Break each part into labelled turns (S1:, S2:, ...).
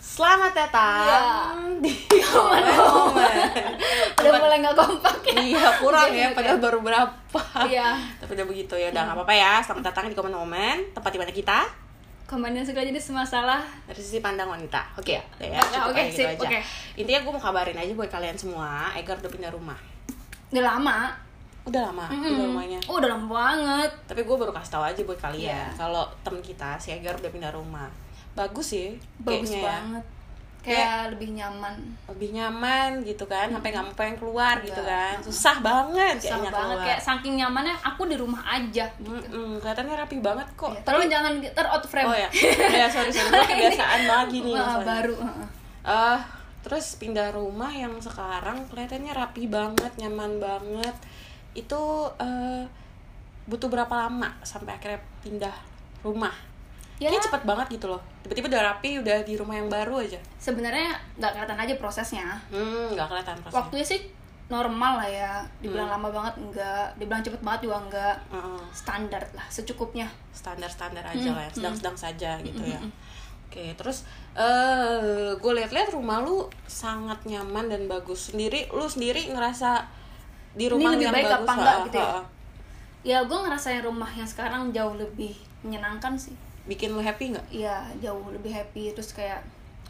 S1: Selamat datang
S2: Iya.
S1: di
S2: Momen. udah mulai nggak kompak ya
S1: Iya kurang ya,
S2: Iya,
S1: padahal baru berapa.
S2: Iya.
S1: Tapi udah begitu ya, udah nggak apa-apa ya. Selamat datang di komen komen tempat dimana kita
S2: komennya segala jadi masalah
S1: dari sisi pandang wanita. Oke
S2: Iya.
S1: udah ya.
S2: Oke,
S1: cukup
S2: oke,
S1: kayak gitu
S2: sip,
S1: aja.
S2: oke.
S1: Intinya gue mau kabarin aja buat kalian semua, Egar udah pindah rumah.
S2: udah lama
S1: Udah lama pindah
S2: Mm-mm.
S1: rumahnya.
S2: oh, udah lama banget
S1: Tapi gue baru kasih tahu aja buat kalian
S2: Iya.
S1: kalau temen kita si Egar udah pindah rumah. Bagus sih,
S2: bagus
S1: kayaknya ya.
S2: banget kayak lebih nyaman
S1: lebih nyaman gitu kan sampai nggak mau pengen keluar gitu
S2: Iya.
S1: kan susah banget
S2: susah
S1: kayaknya
S2: banget
S1: keluar
S2: kayak saking nyamannya aku di rumah aja
S1: Mm-mm, kelihatannya rapi banget kok
S2: Ya, tolong jangan ter out frame
S1: oh ya ya sorry sorry gue kebiasaan banget gini ya,
S2: Wah,
S1: soalnya.
S2: baru heeh.
S1: Eh, terus pindah rumah yang sekarang kelihatannya rapi banget nyaman banget itu eh, butuh berapa lama sampai akhirnya pindah rumah
S2: Ya.
S1: Kayaknya cepet banget gitu loh tiba-tiba udah rapi udah di rumah yang baru aja
S2: sebenarnya nggak kelihatan aja prosesnya
S1: hmm nggak kelihatan prosesnya Hmm.
S2: waktunya sih normal lah ya dibilang lama banget enggak dibilang cepet banget juga enggak
S1: Mm-mm.
S2: standar lah secukupnya
S1: standar-standar aja
S2: Hmm,
S1: lah yang sedang-sedang saja gitu ya oke terus eh gue lihat-lihat rumah lu sangat nyaman dan bagus sendiri lu sendiri ngerasa di rumah
S2: lebih
S1: yang
S2: baik
S1: bagus
S2: apa enggak
S1: ha,
S2: gitu ya?
S1: ha, ha.
S2: ya gue ngerasain rumah yang sekarang jauh lebih menyenangkan sih
S1: bikin lu happy nggak
S2: Iya jauh lebih happy terus kayak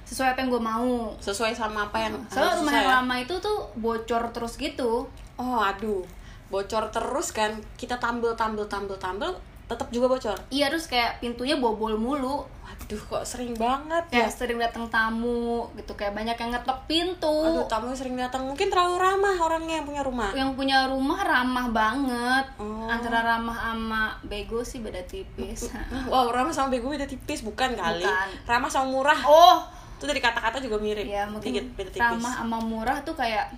S2: sesuai apa yang gue mau
S1: sesuai sama apa yang harus
S2: soalnya rumah yang
S1: saya?
S2: lama itu tuh bocor terus gitu
S1: oh aduh bocor terus kan kita tambel tambel tambel tambel tetap juga bocor
S2: iya terus kayak pintunya bobol mulu
S1: waduh kok sering banget ya
S2: kayak sering datang tamu gitu kayak banyak yang ngetok pintu
S1: aduh tamu sering datang mungkin terlalu ramah orangnya yang punya rumah
S2: yang punya rumah ramah banget
S1: Oh.
S2: antara ramah sama bego sih beda tipis
S1: wow ramah sama bego beda tipis bukan kali
S2: Bukan.
S1: ramah sama murah
S2: oh
S1: itu dari kata-kata juga mirip dikit
S2: ya mungkin
S1: beda tipis
S2: ramah sama murah tuh kayak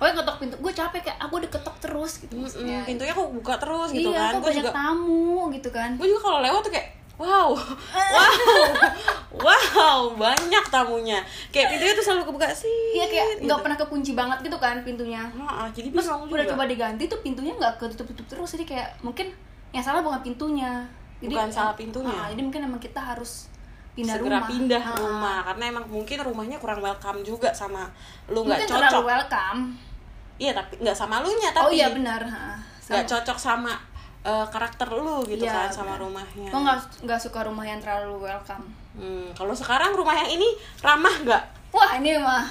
S2: oh ketok pintu gue capek kayak aku diketok terus gitu
S1: Mm-mm,
S2: maksudnya
S1: pintunya kok buka terus gitu kan
S2: iya, kok
S1: gue
S2: banyak
S1: juga
S2: tamu gitu kan
S1: gue juga kalau lewat tuh kayak wow wow wow banyak tamunya kayak pintunya tuh selalu kebuka sih gitu.
S2: Iya kayak nggak pernah kekunci banget gitu kan pintunya.
S1: Heeh, jadi
S2: Terus
S1: bingung
S2: udah
S1: Iya, juga
S2: coba diganti tuh pintunya nggak ketutup-tutup terus jadi kayak mungkin yang salah bukan pintunya. Jadi,
S1: Bukan salah pintunya.
S2: Ah, jadi mungkin emang kita harus pindah
S1: segera
S2: rumah.
S1: pindah
S2: Ah, ah.
S1: rumah karena emang mungkin rumahnya kurang welcome juga sama lu nggak
S2: Mungkin terlalu
S1: cocok
S2: welcome.
S1: iya tapi nggak sama lu nya
S2: oh
S1: tapi
S2: iya benar. ah. Sama.
S1: nggak cocok sama eh, karakter lu gitu
S2: Iya,
S1: kan sama
S2: benar.
S1: rumahnya
S2: Gua nggak nggak suka rumah yang terlalu welcome.
S1: hmm, kalau sekarang rumah yang ini ramah nggak
S2: Wah ini mah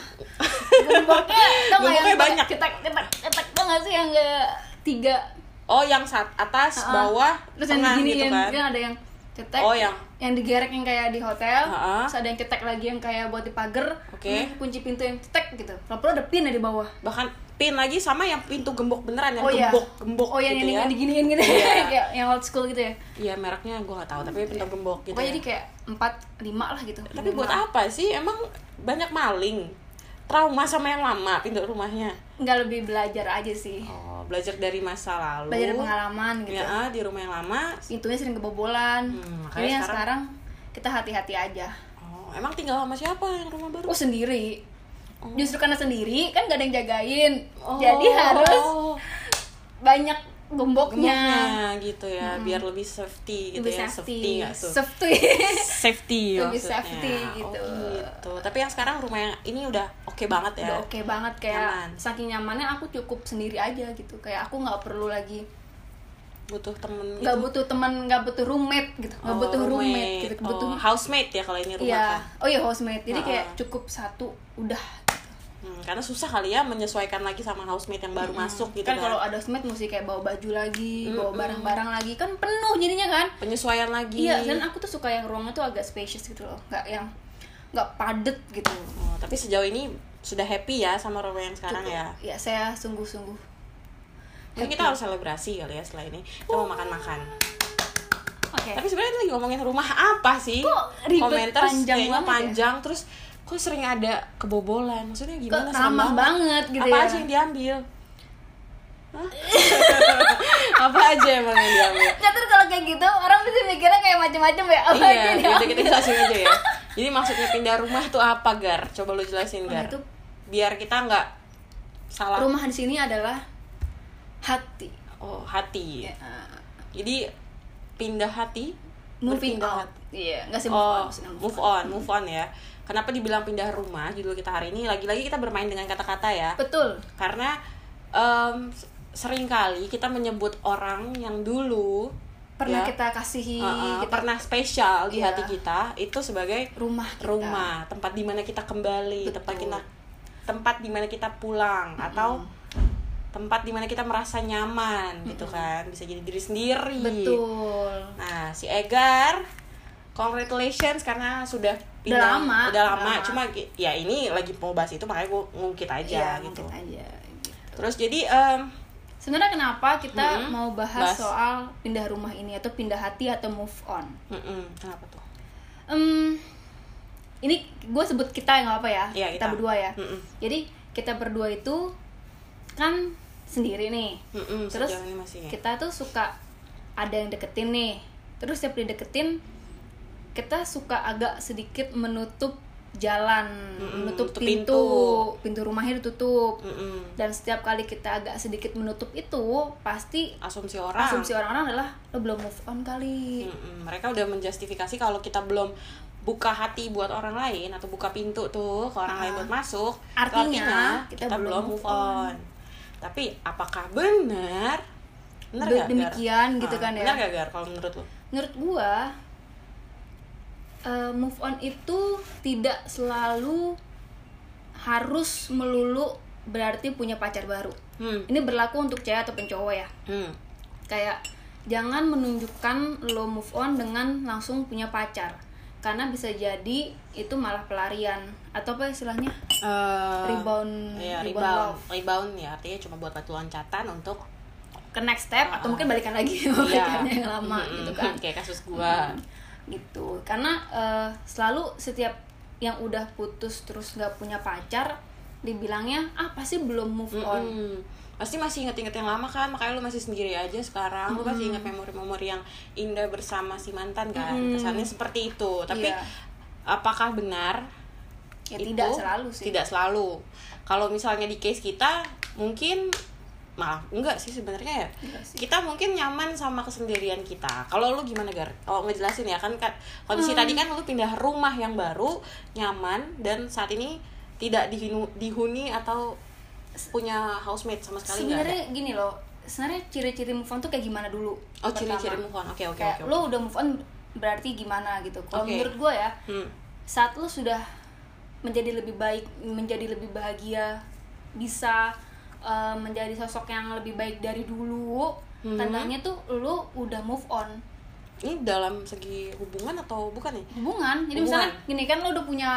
S2: gemboknya tau nggak yang
S1: Gemboknya banyak.
S2: kita kita kita tau nggak sih yang nggak tiga
S1: Oh, yang saat atas,
S2: Ah,
S1: bawah,
S2: terus yang
S1: tengah
S2: digini
S1: gitu
S2: yang,
S1: kan.
S2: kan ada yang cetek
S1: Oh, yang-
S2: yang digerek yang kayak di hotel
S1: Ha-ha.
S2: terus ada yang cetek lagi yang kayak buat di pagar
S1: Oke.
S2: ini kunci pintu yang cetek gitu kalau perlu ada pin ya di bawah
S1: Bahkan pin lagi sama yang pintu gembok beneran yang
S2: iya.
S1: gembok, gembok
S2: oh yang
S1: gitu
S2: yang
S1: ya.
S2: diginiin gitu
S1: Iya.
S2: kayak yang old school gitu ya
S1: Iya, mereknya gue gak tahu, tapi pintu gembok gitu.
S2: Iya. pokoknya
S1: ya.
S2: jadi kayak empat lima lah gitu
S1: Tapi buat
S2: Lima.
S1: apa sih? Emang banyak maling. Trauma sama yang lama pintu rumahnya.
S2: nggak lebih belajar aja sih
S1: Oh, belajar dari masa lalu.
S2: belajar dari pengalaman gitu
S1: Ya, ah, di rumah yang lama.
S2: pintunya sering kebobolan
S1: Hmm, makanya
S2: jadi yang
S1: sekarang-
S2: sekarang kita hati-hati aja
S1: Oh, emang tinggal sama siapa yang rumah baru?
S2: oh sendiri justru karena sendiri kan gak ada yang jagain
S1: Oh,
S2: jadi harus banyak
S1: gemboknya
S2: gemboknya
S1: gitu ya, biar lebih safety gitu
S2: lebih
S1: ya. Safety
S2: safety
S1: nggak tuh?
S2: safety
S1: safety
S2: Lebih
S1: maksudnya.
S2: safety gitu.
S1: Oh, gitu. Tapi yang sekarang rumah yang ini udah oke banget ya.
S2: udah oke banget kayak
S1: Nyaman.
S2: saking nyamannya aku cukup sendiri aja gitu kayak aku nggak perlu lagi
S1: Butuh temen gitu.
S2: nggak butuh teman nggak butuh roommate gitu nggak
S1: Oh,
S2: butuh roommate gitu butuh
S1: Oh, housemate ya kalau ini rumah Ah.
S2: iya
S1: kan.
S2: oh iya housemate jadi kayak
S1: Ha-ha.
S2: cukup satu udah
S1: Hmm, karena susah kali ya menyesuaikan lagi sama housemate yang baru masuk gitu
S2: kan
S1: kan.
S2: kalau ada housemate mesti kayak bawa baju lagi bawa
S1: Mm-mm.
S2: barang-barang lagi kan penuh jadinya kan
S1: Penyesuaian lagi.
S2: iya dan aku tuh suka yang ruangnya tuh agak spacious gitu loh nggak yang nggak padet gitu
S1: Oh, tapi sejauh ini sudah happy ya sama rumah yang sekarang ya.
S2: ya saya sungguh-sungguh
S1: Tapi kita harus selebrasi kali ya setelah ini. Kita mau makan-makan.
S2: oke
S1: Tapi sebenarnya kita lagi ngomongin rumah apa sih?
S2: Kok ribet
S1: Komentar
S2: panjang
S1: kayaknya
S2: banget ya?
S1: panjang terus kok sering ada kebobolan. Maksudnya
S2: kok
S1: gimana? Serem
S2: ramah banget gitu
S1: apa
S2: ya
S1: aja yang diambil Hah? apa aja emang yang diambil
S2: Nah, terus kalau kayak gitu orang bisa mikirnya kayak macam-macam ya apa aja
S1: iya
S2: nih?
S1: gitu kita jelasin aja ya jadi maksudnya pindah rumah tuh apa gar coba lu jelasin gar
S2: Nah, itu-
S1: biar kita nggak salah
S2: rumah di sini adalah hati
S1: oh hati
S2: Eh,
S1: jadi pindah hati
S2: moving
S1: Berpindah.
S2: out iya nggak sih move on
S1: Oh,
S2: maksudnya
S1: move on, move on ya. Kenapa dibilang pindah rumah? Judul kita hari ini lagi-lagi kita bermain dengan kata-kata ya.
S2: betul
S1: Karena em, s- seringkali kita menyebut orang yang dulu
S2: pernah
S1: ya,
S2: kita kasihi
S1: uh-uh,
S2: kita-
S1: pernah spesial di
S2: Iya.
S1: hati kita itu sebagai
S2: rumah kita.
S1: rumah, tempat dimana kita kembali,
S2: Betul.
S1: tempat kita tempat dimana kita pulang atau tempat dimana kita merasa nyaman gitu kan. Bisa jadi diri sendiri.
S2: betul
S1: Nah, si Egar, congratulations karena sudah pindah-
S2: lama,
S1: udah
S2: udah
S1: lama.
S2: lama.
S1: Cuma gi- ya ini lagi mau bahas itu makanya gue ngungkit aja
S2: Iya,
S1: gitu.
S2: mungkin aja
S1: Terus jadi em,
S2: sebenarnya kenapa kita
S1: Mm-mm.
S2: mau bahas
S1: Bahas.
S2: soal pindah rumah ini atau pindah hati atau move on
S1: mm-mm, kenapa tuh?
S2: Em, ini gue sebut kita nggak apa ya
S1: Iya,
S2: kita
S1: kita.
S2: berdua ya
S1: Mm-mm.
S2: jadi kita berdua itu kan sendiri nih
S1: Mm-mm,
S2: Terus
S1: sejauh ini masih.
S2: kita tuh suka ada yang deketin nih terus setiap dideketin kita suka agak sedikit menutup jalan
S1: Mm-mm,
S2: menutup
S1: menutup
S2: pintu pintu, rumahnya ditutup
S1: Mm-mm.
S2: dan setiap kali kita agak sedikit menutup itu pasti
S1: Asumsi orang.
S2: asumsi orang-orang adalah lo belum move on kali
S1: Mm-mm, mereka udah menjustifikasi kalau kita belum buka hati buat orang lain atau buka pintu tuh ke orang lain buat masuk. itu
S2: Ah. Artinya, kita belum move on.
S1: Tapi apakah benar? Benar
S2: Be-
S1: nggak, Gar?
S2: demikian gitu
S1: Ah,
S2: kan ya.
S1: Benar nggak, Gar, kalau menurut lo?
S2: menurut gua eh, move on itu tidak selalu harus melulu berarti punya pacar baru
S1: Hmm.
S2: ini berlaku untuk cewek atau cowok ya
S1: Hmm.
S2: kayak jangan menunjukkan lo move on dengan langsung punya pacar karena bisa jadi itu malah pelarian atau apa istilahnya
S1: Eh,
S2: Rebound-
S1: iya,
S2: rebound
S1: rebound
S2: love.
S1: rebound ya artinya cuma buat batu loncatan untuk
S2: ke next step atau mungkin balikan lagi ke
S1: Iya.
S2: pacarnya yang
S1: Mm-mm.
S2: lama
S1: Iya.
S2: gitu kan
S1: kayak kasus gua
S2: gitu karena eh, selalu setiap yang udah putus terus nggak punya pacar dibilangnya ah pasti belum move on
S1: Mm-mm. pasti masih inget-inget yang lama kan makanya lu masih sendiri aja sekarang lu masih ingat memori-memori yang indah bersama si mantan kan
S2: Mm-mm.
S1: kesannya seperti itu tapi
S2: Iya.
S1: apakah benar
S2: ya
S1: itu
S2: tidak selalu sih
S1: tidak selalu kalau misalnya di case kita mungkin malah enggak sih sebenarnya ya
S2: Enggak sih.
S1: kita mungkin nyaman sama kesendirian kita kalau lu gimana gar oh ngejelasin ya kan kan kondisi
S2: Hmm.
S1: tadi kan lu pindah rumah yang baru nyaman dan saat ini tidak dihinu- dihuni atau punya housemate sama sekali nggak ada
S2: sebenarnya gini loh sebenarnya ciri-ciri move on tuh kayak gimana dulu
S1: oh
S2: Pertama,
S1: ciri-ciri move on oke oke
S2: kayak
S1: oke
S2: lo
S1: oke.
S2: udah move on berarti gimana gitu kalau
S1: Oke.
S2: menurut gue ya
S1: Hmm.
S2: saat lo sudah menjadi lebih baik menjadi lebih bahagia bisa eh, menjadi sosok yang lebih baik dari dulu
S1: Mhm.
S2: tandanya tuh lo udah move on
S1: ini dalam segi hubungan atau bukan ya
S2: hubungan jadi
S1: Hubungan.
S2: misalnya gini kan lo udah punya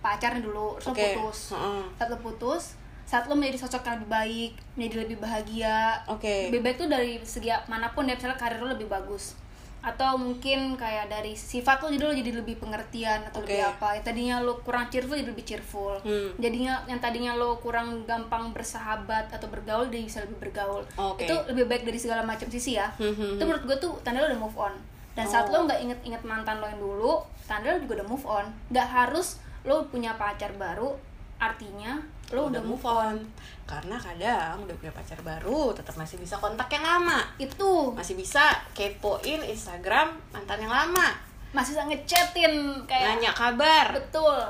S2: pacar nih dulu terus lo
S1: Oke.
S2: putus
S1: Heeh.
S2: saat lo putus saat lo menjadi sosok yang lebih baik menjadi lebih bahagia
S1: Oke.
S2: lebih baik tuh dari segi manapun ya misalnya karir lo lebih bagus atau mungkin kayak dari sifat lo jadi lo jadi lebih pengertian atau
S1: Oke.
S2: lebih apa yang tadinya lo kurang cheerful jadi lebih cheerful
S1: Hmm.
S2: jadinya yang tadinya lo kurang gampang bersahabat atau bergaul jadi bisa lebih bergaul
S1: Oke.
S2: itu lebih baik dari segala macam sisi ya
S1: Hmm, hmm,
S2: itu menurut gue tuh tanda lo udah move on dan saat
S1: Oh.
S2: lo nggak inget-inget mantan lo yang dulu tanda lo juga udah move on nggak harus lo punya pacar baru artinya lo udah, move
S1: on karena kadang udah punya pacar baru tetap masih bisa kontak yang lama
S2: itu
S1: masih bisa kepoin Instagram mantan yang lama
S2: masih bisa ngechatin kayak
S1: nanya kabar
S2: betul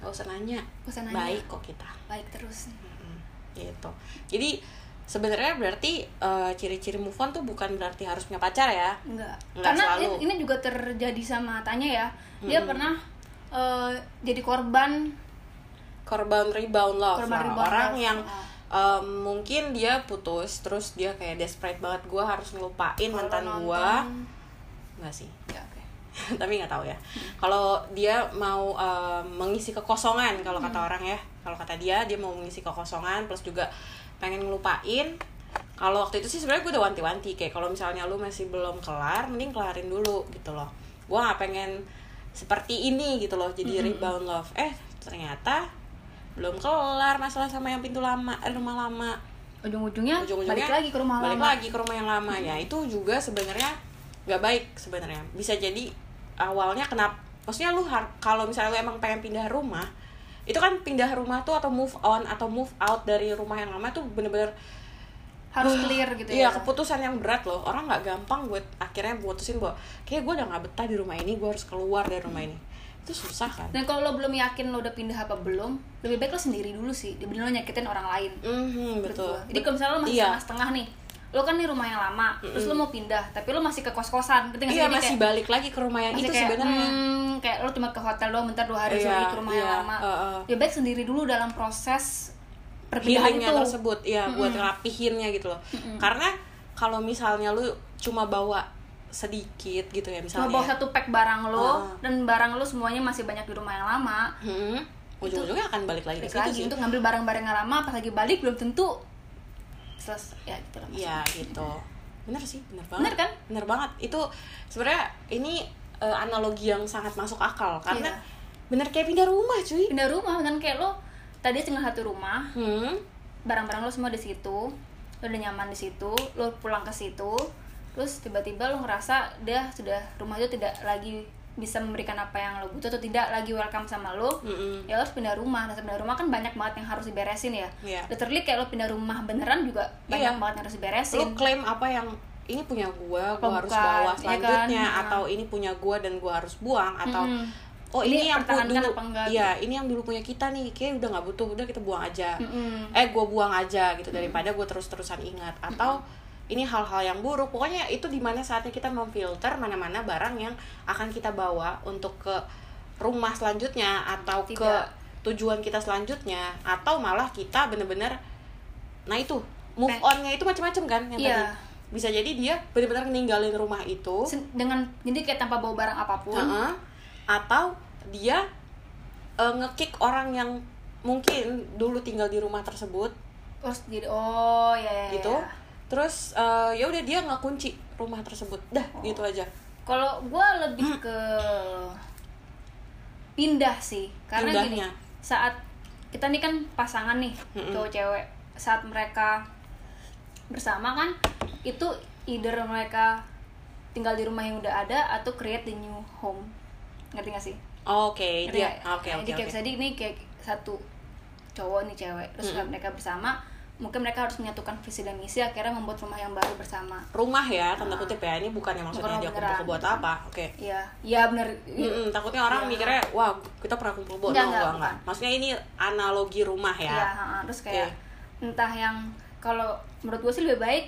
S1: gak usah nanya
S2: Nggak usah nanya.
S1: baik kok kita
S2: baik terus
S1: Mm, gitu jadi sebenarnya berarti eh, ciri-ciri move on tuh bukan berarti harus punya pacar ya
S2: Enggak.
S1: Enggak
S2: Karena
S1: selalu.
S2: ini- ini juga terjadi sama Tanya ya. Dia pernah eh, jadi korban
S1: korban rebound love
S2: Korban
S1: Nah,
S2: rebound
S1: orang
S2: love,
S1: yang
S2: ah.
S1: em, mungkin dia putus terus dia kayak desperate banget gue harus ngelupain
S2: kalau
S1: mantan
S2: nonton-
S1: gue nggak sih
S2: Ya, oke.
S1: tapi nggak tahu ya kalau dia mau eh, mengisi kekosongan kalau kata orang ya kalau kata dia dia mau mengisi kekosongan plus juga pengen ngelupain kalau waktu itu sih sebenarnya gue udah wanti-wanti kayak kalau misalnya lu masih belum kelar mending kelarin dulu gitu loh gue nggak pengen seperti ini gitu loh jadi rebound love eh ternyata belum kelar masalah sama yang pintu lama eh, rumah lama
S2: Ujung-ujungnya
S1: ujung-ujungnya
S2: Iya, balik lagi ke rumah
S1: balik
S2: lama.
S1: lagi ke rumah yang lama ya itu juga sebenarnya nggak baik sebenarnya bisa jadi awalnya kenapa maksudnya lu har- kalau misalnya lu emang pengen pindah rumah itu kan pindah rumah tuh atau move on atau move out dari rumah yang lama tuh bener-bener
S2: harus clear gitu
S1: Iya
S2: ya.
S1: keputusan yang berat loh orang nggak gampang buat akhirnya putusin bahwa kayak gue udah nggak betah di rumah ini gue harus keluar dari rumah ini itu susah kan
S2: Dan kalau lo belum yakin lo udah pindah apa belum, lebih baik lo sendiri dulu sih dibanding lo nyakitin orang lain.
S1: Mhm,
S2: menurut
S1: betul
S2: gua. Jadi kalau misalnya lo masih
S1: Iya.
S2: setengah-setengah nih, lo kan di rumah yang lama, terus lo mau pindah, tapi lo masih ke kos-kosan, ngerti nggak sih? ya?
S1: iya
S2: Jadi
S1: masih
S2: kayak,
S1: balik lagi ke rumah yang
S2: masih
S1: itu
S2: kayak,
S1: gitu sebenarnya
S2: hmm, kayak lo cuma ke hotel doang bentar dua hari,
S1: Iya,
S2: terus lagi ke rumah yang
S1: iya,
S2: lama.
S1: uh-uh.
S2: Ya baik sendiri dulu dalam proses perpindahan
S1: healingnya
S2: itu.
S1: tersebut ya buat rapihinnya gitu loh karena kalau misalnya lu cuma bawa sedikit gitu ya
S2: Cuma
S1: misalnya
S2: bawa satu pack barang lo
S1: Uh-uh.
S2: dan barang lo semuanya masih banyak di rumah yang lama.
S1: Mhm. ujung-ujungnya akan balik lagi ke
S2: Balik
S1: situ
S2: lagi
S1: sih
S2: untuk ngambil barang-barang yang lama, pas lagi balik belum tentu selesai. Ya gitu lah. maksudnya.
S1: Iya gitu. Bener sih, bener banget.
S2: Bener kan?
S1: Bener banget. Itu sebenarnya ini eh, analogi yang sangat masuk akal karena
S2: Iya.
S1: bener kayak pindah rumah cuy.
S2: Pindah rumah kan kayak lo tadi tinggal satu rumah,
S1: Hmm.
S2: barang-barang lo semua di situ lo udah nyaman di situ lo pulang ke situ terus tiba-tiba lo ngerasa dia sudah rumah itu tidak lagi bisa memberikan apa yang lo butuh atau tidak lagi welcome sama lo
S1: Mm-mm.
S2: ya lo harus pindah rumah dan pindah rumah kan banyak banget yang harus diberesin ya
S1: Iya.
S2: literally kayak lo pindah rumah beneran juga banyak
S1: Iya.
S2: banget yang harus
S1: Lu
S2: diberesin
S1: klaim apa yang ini punya gua,
S2: Apa
S1: gua harus
S2: bukan,
S1: bawa
S2: iya
S1: selanjutnya
S2: kan?
S1: atau ini punya gua dan gua harus buang atau
S2: Mm-mm.
S1: oh
S2: Ini
S1: ini, yang pu-
S2: pertahankan
S1: dulu
S2: apa enggak, gitu.
S1: iya ini yang dulu punya kita nih kayak udah nggak butuh udah kita buang aja
S2: Mm-mm.
S1: eh gue buang aja
S2: Hmm.
S1: gitu daripada gue terus-terusan ingat atau ini hal-hal yang buruk pokoknya itu dimana saatnya kita memfilter mana-mana barang yang akan kita bawa untuk ke rumah selanjutnya atau ke
S2: Tidak.
S1: tujuan kita selanjutnya atau malah kita bener-bener nah itu move
S2: Pe-
S1: onnya itu macam-macam kan yang
S2: Iya.
S1: tadi bisa jadi dia bener-bener ninggalin rumah itu
S2: Sen- dengan jadi kayak tanpa bawa barang apapun
S1: Heeh. atau dia eh, ngekick orang yang mungkin dulu tinggal di rumah tersebut
S2: terus jadi oh ya ya, ya,
S1: gitu
S2: ya.
S1: terus eh, ya udah dia nggak kunci rumah tersebut dah
S2: Oh.
S1: gitu aja
S2: Kalau gue lebih
S1: Hmm.
S2: ke pindah sih, karena
S1: Pindahnya.
S2: gini saat kita nih kan pasangan nih cowok cewek saat mereka bersama kan itu either mereka tinggal di rumah yang udah ada atau create the new home ngerti gak sih?
S1: oke
S2: Ngerti
S1: dia
S2: nggak?
S1: Iya, oke
S2: ya? Nah, Jadi
S1: oke
S2: kayak
S1: oke
S2: bisa di- ini kayak satu cowok nih cewek terus saat mereka bersama mungkin mereka harus menyatukan visi dan misi akhirnya membuat rumah yang baru bersama
S1: rumah ya tanda kutip ya ini bukan yang maksudnya
S2: Ah. Bukan
S1: dia
S2: beneran.
S1: kumpul buat apa oke
S2: Iya, iya bener
S1: Mm-mm, takutnya orang mikirnya wah kita pernah kumpul buat
S2: Nggak,
S1: no,
S2: nggak,
S1: nggak, nggak.
S2: bukan.
S1: maksudnya ini analogi rumah ya
S2: Iya, ha-ha. terus kayak
S1: Oke.
S2: entah yang kalau menurut gue sih lebih baik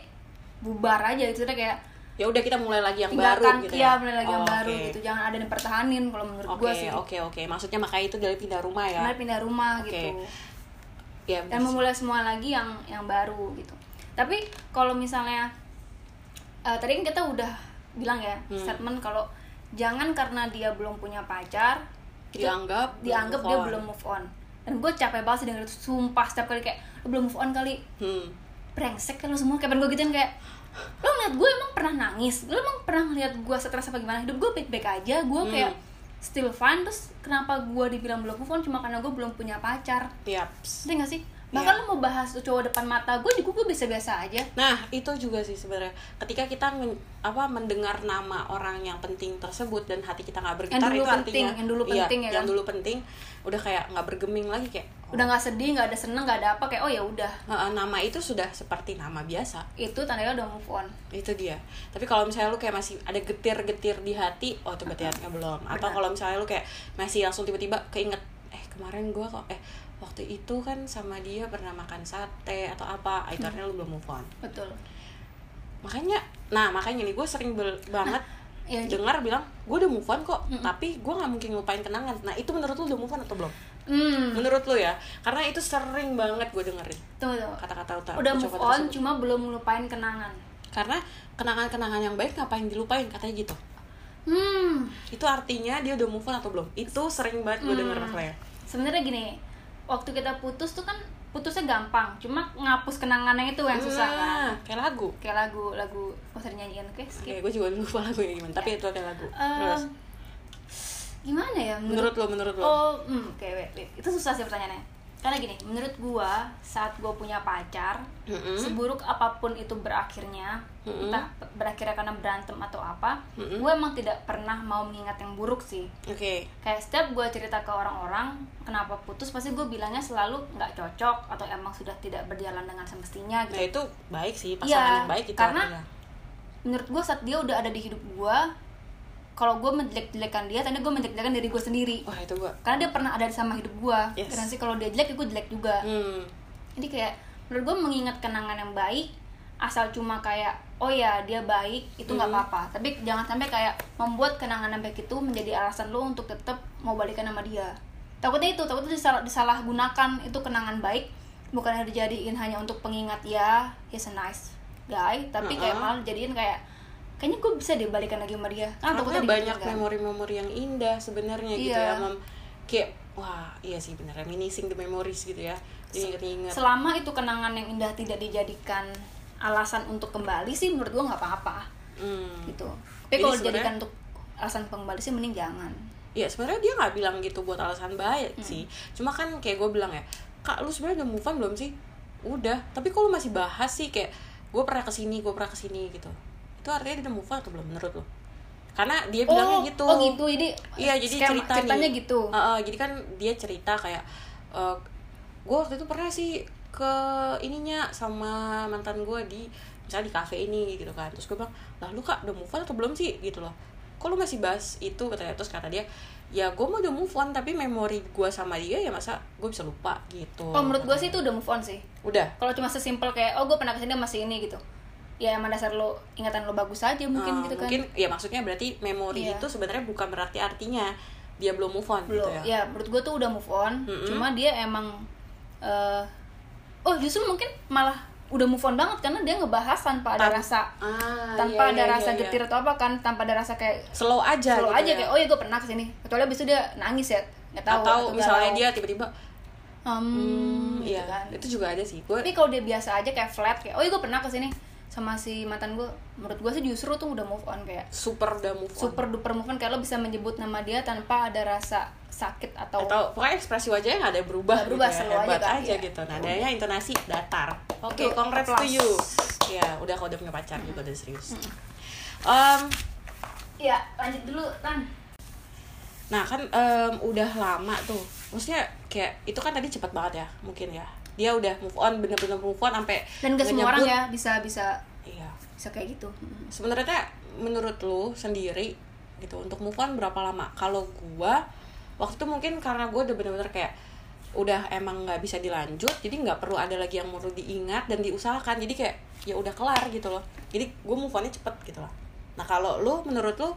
S2: bubar aja gitu Maksudnya kayak
S1: ya udah kita mulai lagi yang baru
S2: tinggalkan
S1: gitu
S2: iya,
S1: ya
S2: mulai lagi yang
S1: Oh,
S2: baru
S1: oke.
S2: gitu. Jangan ada yang pertahanin kalau menurut
S1: oke
S2: gue sih.
S1: oke oke maksudnya makanya itu dari pindah rumah ya
S2: Karena pindah rumah
S1: Oke.
S2: gitu.
S1: ya
S2: Dan
S1: bener sih.
S2: memulai semua lagi yang yang baru gitu. Tapi kalau misalnya eh, tadi kan kita udah bilang ya
S1: Hmm.
S2: statement kalau jangan karena dia belum punya pacar itu
S1: dianggap
S2: dianggap dia
S1: on.
S2: belum move on. Dan gue capek banget sih denger itu sumpah setiap kali kayak "Lu belum move on kali
S1: hmm.
S2: brengsek kan lo semua kapan gue gituin kayak lo ngeliat gue emang pernah nangis lo emang pernah ngeliat gue stres apa gimana hidup gue baik baik aja gue kayak still fine terus kenapa gue dibilang belum move on cuma karena gue belum punya pacar
S1: Yaps.
S2: ngerti gak sih bahkan lo mau bahas tuh cowok depan mata gue juga gue biasa biasa aja
S1: Nah, itu juga sih sebenarnya. Ketika kita men- apa mendengar nama orang yang penting tersebut dan hati kita nggak bergetar
S2: dulu
S1: itu
S2: penting,
S1: artinya
S2: yang dulu
S1: iya,
S2: penting ya
S1: yang
S2: kan?
S1: dulu penting udah kayak nggak bergeming lagi kayak oh,
S2: udah nggak sedih nggak ada seneng nggak ada apa kayak oh ya udah
S1: eh, nama itu sudah seperti nama biasa.
S2: itu tandanya udah move on
S1: Itu dia. Tapi kalau misalnya lu kayak masih ada getir-getir di hati, oh itu berarti hatinya belum. Atau
S2: Benar.
S1: kalau misalnya lu kayak masih langsung tiba-tiba keinget eh kemarin gua kok eh waktu itu kan sama dia pernah makan sate atau apa, ah, itu
S2: Hmm.
S1: artinya lu belum move on.
S2: betul
S1: makanya nah makanya nih gue sering bel- banget
S2: ya
S1: dengar bilang gue udah move on kok tapi gue nggak mungkin ngelupain kenangan nah itu menurut lu udah move on atau belum
S2: hmm
S1: menurut lu ya karena itu sering banget gue dengerin
S2: tunggu tunggu
S1: kata-kata utara
S2: udah move
S1: ucapan
S2: on
S1: tersebut.
S2: cuma belum ngelupain kenangan
S1: karena kenangan-kenangan yang baik ngapain dilupain katanya gitu
S2: hmm
S1: itu artinya dia udah move on atau belum itu sering banget gue
S2: Mm.
S1: denger Claire.
S2: sebenarnya gini waktu kita putus tuh kan putusnya gampang cuma ngapus kenangannya itu yang susah
S1: Nah,
S2: kan
S1: kayak lagu
S2: kayak lagu lagu oh, sering nyanyian oke skip
S1: Oke, gue juga lupa lagu yang gimana, tapi itu kayak lagu.
S2: Eh,
S1: Terus,
S2: gimana ya
S1: menurut
S2: menurut,
S1: lo, menurut lo,
S2: oh hmm, oke wait, wait. itu susah sih pertanyaannya karena gini menurut gua saat gua punya pacar
S1: Mm-mm.
S2: seburuk apapun itu berakhirnya
S1: Mm-mm.
S2: entah berakhirnya karena berantem atau apa gue emang tidak pernah mau mengingat yang buruk sih
S1: oke
S2: kayak setiap gue cerita ke orang-orang kenapa putus pasti gue bilangnya selalu nggak cocok atau emang sudah tidak berjalan dengan semestinya
S1: nah itu
S2: gitu
S1: baik sih pasangan
S2: Iya,
S1: yang baik itu
S2: karena
S1: artinya.
S2: menurut gue saat dia udah ada di hidup gue kalau gue menjelek-jelekan dia tanda gue menjelek-jelekan diri gue sendiri
S1: wah itu gua
S2: karena dia pernah ada sama hidup gue
S1: Yes.
S2: karena sih kalau dia jelek gue jelek juga
S1: hmm
S2: jadi kayak menurut gue mengingat kenangan yang baik asal cuma kayak oh ya dia baik itu nggak
S1: Hmm.
S2: apa-apa tapi jangan sampai kayak membuat kenangan yang baik itu menjadi alasan lo untuk tetap mau balikan sama dia takutnya itu takutnya disalah disalahgunakan itu kenangan baik bukan yang dijadiin hanya untuk pengingat ya he's a nice guy tapi kayak
S1: Mm-mm.
S2: malah jadiin kayak kayaknya gue bisa deh balikan lagi sama dia kan
S1: karena
S2: takutnya
S1: Ah, banyak
S2: dipikirkan.
S1: memori-memori yang indah sebenarnya gitu
S2: Iya.
S1: ya mem kayak wah iya sih bener reminiscing the memories gitu ya Jadi inget-inget
S2: selama itu kenangan yang indah tidak dijadikan alasan untuk kembali sih menurut gue nggak apa-apa
S1: Hmm.
S2: gitu
S1: Jadi
S2: tapi kalau
S1: sebenarnya-
S2: dijadikan untuk alasan pengembali sih mending jangan
S1: ya sebenarnya dia nggak bilang gitu buat alasan baik
S2: Hmm.
S1: sih cuma kan kayak gue bilang ya kak lu sebenarnya udah move on belum sih udah tapi kalau masih bahas sih kayak gue pernah kesini gue pernah kesini gitu itu artinya dia udah move on atau belum menurut lo karena dia bilangnya gitu
S2: oh gitu jadi
S1: iya jadi
S2: skema-
S1: cerita
S2: ceritanya
S1: nih.
S2: gitu
S1: Heeh, jadi kan dia cerita kayak gue waktu itu pernah sih ke ininya sama mantan gue di misalnya di kafe ini gitu kan terus gue bilang lah lu kak udah move on atau belum sih gitu loh kok lu masih bahas itu katanya terus kata dia ya gue mau udah move on tapi memori gue sama dia ya masa gue bisa lupa gitu
S2: oh menurut gue sih itu udah move on sih
S1: udah
S2: kalau cuma sesimpel kayak oh gue pernah kesini masih ini gitu ya emang dasar lo ingatan lo bagus aja mungkin
S1: Eh,
S2: gitu kan
S1: mungkin ya maksudnya berarti memori
S2: Iya.
S1: itu sebenarnya bukan berarti artinya dia belum move on
S2: belum
S1: gitu ya
S2: ya. menurut gue tuh udah move on
S1: Mm-mm.
S2: cuma dia emang eh, oh justru mungkin malah udah move on banget karena dia ngebahas tanpa ada
S1: Tan-
S2: rasa
S1: Ah,
S2: tanpa
S1: iya,
S2: ada
S1: iya,
S2: rasa
S1: iya, iya.
S2: getir atau apa kan tanpa ada rasa kayak
S1: slow aja
S2: slow
S1: gitu
S2: aja
S1: ya.
S2: kayak oh ya gue pernah kesini kecuali abis itu dia nangis ya nggak tahu
S1: atau
S2: atau
S1: misalnya
S2: galau.
S1: dia tiba-tiba
S2: Hmm,
S1: hmm,
S2: gitu
S1: iya
S2: kan.
S1: itu juga ada sih gue
S2: tapi kalau dia biasa aja kayak flat kayak oh ya gue pernah kesini sama si mantan gue menurut gue sih justru tuh udah move on kayak
S1: super udah move on
S2: super duper move on kayak lo bisa menyebut nama dia tanpa ada rasa sakit atau,
S1: atau pokoknya ekspresi wajahnya nggak ada yang berubah
S2: Nggak berubah,
S1: gitu ya.
S2: slow aja
S1: hebat aja,
S2: kan, iya.
S1: gitu nah adanya intonasi datar oke
S2: Betul,
S1: congrats to
S2: applause.
S1: you ya udah kalau udah punya pacar juga udah serius
S2: Hmm.
S1: Em,
S2: iya lanjut dulu kan
S1: nah kan em, udah lama tuh maksudnya kayak itu kan tadi cepat banget ya mungkin ya dia udah move on bener-bener move on sampai
S2: dan gak
S1: ngenyebut-
S2: semua orang ya bisa bisa
S1: iya
S2: bisa kayak gitu
S1: sebenarnya teh, menurut lu sendiri gitu untuk move on berapa lama kalau gua waktu itu mungkin karena gua udah bener-bener kayak udah emang nggak bisa dilanjut jadi nggak perlu ada lagi yang perlu diingat dan diusahakan jadi kayak ya udah kelar gitu loh jadi gue move onnya cepet gitu loh nah kalau lu menurut lu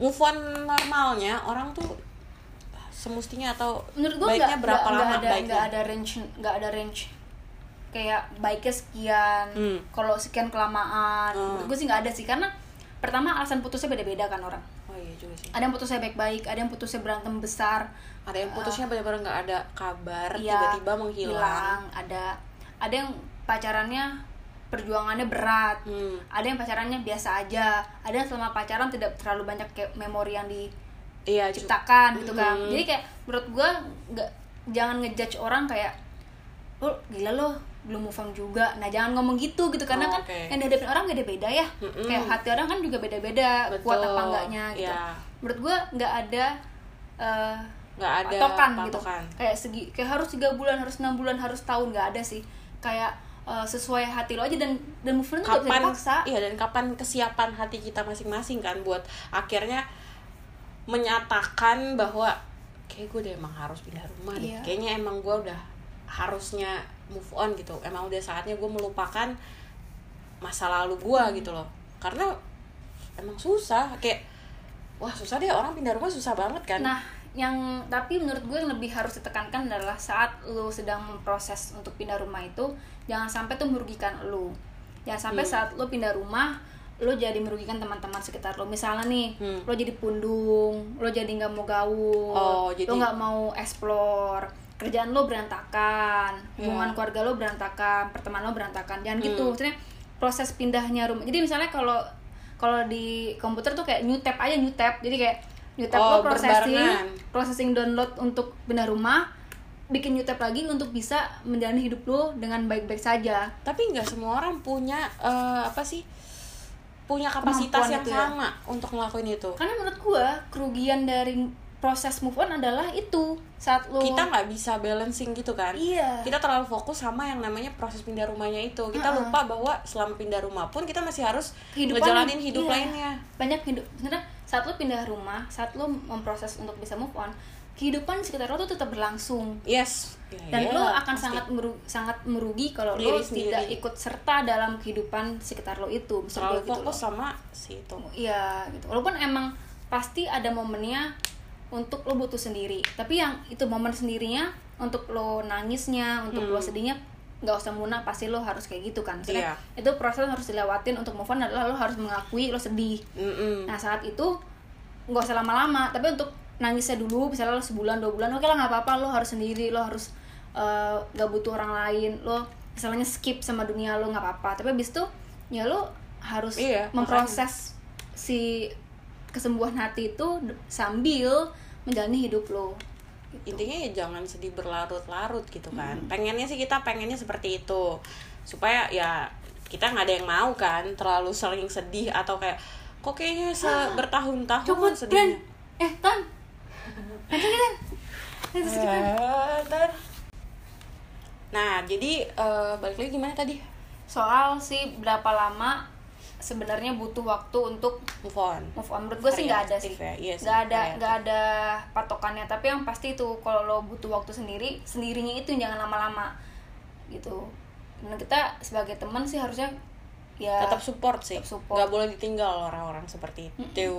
S1: move on normalnya orang tuh semestinya atau
S2: menurut gue
S1: baiknya
S2: nggak
S1: berapa
S2: nggak-
S1: lama
S2: nggak ada
S1: baiknya
S2: nggak ada range nggak ada range kayak baiknya sekian
S1: Hmm.
S2: kalau sekian kelamaan
S1: Hmm.
S2: menurut gue sih nggak ada sih karena pertama alasan putusnya beda-beda kan orang
S1: oh iya juga sih
S2: ada yang putusnya baik-baik ada yang putusnya berantem besar
S1: ada yang putusnya benar-benar nggak ada kabar
S2: ya,
S1: tiba-tiba menghilang
S2: Eh, hilang, ada ada yang pacarannya perjuangannya berat
S1: Hmm.
S2: ada yang pacarannya biasa aja ada yang selama pacaran tidak terlalu banyak kayak memori yang di
S1: iya juga.
S2: ciptakan gitu kan
S1: Mhm.
S2: jadi kayak menurut gua nggak jangan ngejudge orang kayak lo gila lo belum move on juga nah jangan ngomong gitu gitu karena
S1: Oh,
S2: kan
S1: oke.
S2: yang dihadapin orang beda-beda ya
S1: Mm-mm.
S2: kayak hati orang kan juga beda-beda
S1: Betul.
S2: kuat apa enggaknya gitu
S1: Iya.
S2: menurut gua nggak ada eh,
S1: nggak ada
S2: patokan, gitu
S1: patokan.
S2: kayak segi kayak harus tiga bulan harus enam bulan harus tahun nggak ada sih kayak eh, sesuai hati lo aja dan dan move on tuh nggak bisa
S1: kapan
S2: dipaksa
S1: iya dan kapan kesiapan hati kita masing-masing kan buat akhirnya menyatakan bahwa kayak gue udah emang harus pindah rumah deh
S2: Iya.
S1: kayaknya emang gue udah harusnya move on gitu emang udah saatnya gue melupakan masa lalu gue
S2: Hmm.
S1: gitu loh karena emang susah kayak wah susah deh orang pindah rumah susah banget kan
S2: Nah, yang tapi menurut gue yang lebih harus ditekankan adalah saat lu sedang memproses untuk pindah rumah itu, jangan sampai tuh merugikan lu. Jangan
S1: Iya.
S2: sampai saat lu pindah rumah, lu jadi merugikan teman-teman sekitar lu. Misalnya nih,
S1: Hmm.
S2: lu jadi pundung, lu jadi nggak mau gaul,
S1: Oh, jadi-
S2: lu nggak mau explore, kerjaan lu berantakan,
S1: Iya.
S2: hubungan keluarga lu berantakan, pertemanan lu berantakan. Jangan gitu.
S1: Hmm.
S2: Maksudnya proses pindahnya rumah. Jadi misalnya kalau kalau di komputer tuh kayak new tab aja new tab. Jadi kayak new tab
S1: Oh,
S2: lo processing,
S1: berbarengan.
S2: processing download untuk pindah rumah, bikin new tab lagi untuk bisa menjalani hidup lo dengan baik-baik saja.
S1: tapi nggak semua orang punya eh, apa sih punya kapasitas
S2: Kemampuan
S1: yang
S2: itu ya.
S1: sama untuk ngelakuin itu
S2: karena menurut gua kerugian dari proses move on adalah itu saat lo
S1: kita nggak bisa balancing gitu kan
S2: Iya.
S1: kita terlalu fokus sama yang namanya proses pindah rumahnya itu kita
S2: Mm-mm.
S1: lupa bahwa selama pindah rumah pun kita masih harus
S2: Kehidupan-
S1: ngejalanin hidup
S2: iya.
S1: lainnya
S2: banyak hidup sebenarnya saat lo pindah rumah saat lo memproses untuk bisa move on kehidupan di sekitar lo tuh tetap berlangsung
S1: yes Ya,
S2: dan
S1: iya,
S2: lo akan
S1: pasti.
S2: sangat meru- sangat merugi kalau lo
S1: Diri
S2: tidak
S1: sendiri.
S2: ikut serta dalam kehidupan sekitar lo itu Maksud
S1: terlalu
S2: gua gitu
S1: fokus
S2: loh.
S1: sama si itu
S2: Iya gitu. Walaupun emang pasti ada momennya untuk lo butuh sendiri. Tapi yang itu momen sendirinya untuk lo nangisnya, untuk lo sedihnya nggak usah muna pasti lo harus kayak gitu kan. Maksudnya,
S1: Iya.
S2: Itu proses yang harus dilewatin untuk move on adalah lo harus mengakui lo sedih.
S1: Mm-mm.
S2: Nah saat itu nggak usah lama-lama, tapi untuk nangisnya dulu misalnya lo sebulan dua bulan oke lah nggak apa-apa lo harus sendiri lo harus eh, nggak butuh orang lain lo misalnya skip sama dunia lo nggak apa-apa tapi abis itu ya lo harus
S1: Iya,
S2: memproses si kesembuhan hati itu d- sambil menjalani hidup lo Gitu.
S1: intinya ya jangan sedih berlarut-larut gitu
S2: Hmm.
S1: kan pengennya sih kita pengennya seperti itu supaya ya kita nggak ada yang mau kan terlalu sering sedih atau kayak kok kayaknya se
S2: Ah.
S1: bertahun-tahun kan ya?" sedihnya
S2: eh tan nanti kita nanti kita
S1: Eh, ntar. nah jadi eh, balik lagi gimana tadi
S2: soal sih berapa lama sebenarnya butuh waktu untuk
S1: move on
S2: move on menurut gue sih nggak ada sih
S1: Variatif ya, iya sih,
S2: nggak ada
S1: variatif.
S2: nggak ada patokannya tapi yang pasti itu kalau lo butuh waktu sendiri sendirinya itu jangan lama-lama gitu dan kita sebagai teman sih harusnya ya
S1: tetap support sih
S2: Tetap support.
S1: nggak boleh ditinggal orang-orang seperti itu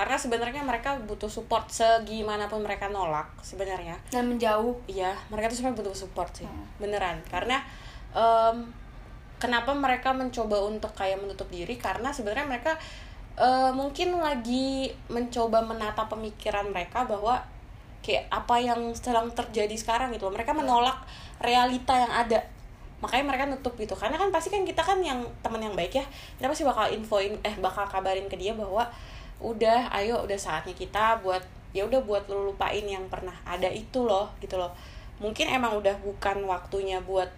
S1: karena sebenarnya mereka butuh support segimanapun mereka nolak sebenarnya
S2: dan menjauh
S1: Iya, mereka tuh sebenarnya butuh support sih, beneran. Karena em, kenapa mereka mencoba untuk kayak menutup diri? Karena sebenarnya mereka eh, mungkin lagi mencoba menata pemikiran mereka bahwa kayak apa yang sedang terjadi sekarang gitu. loh. Mereka menolak realita yang ada. Makanya mereka nutup gitu. Karena kan pasti kan kita kan yang teman yang baik ya, kita pasti bakal infoin eh bakal kabarin ke dia bahwa udah ayo udah saatnya kita buat ya udah buat lu lupain yang pernah ada itu loh gitu loh mungkin emang udah bukan waktunya buat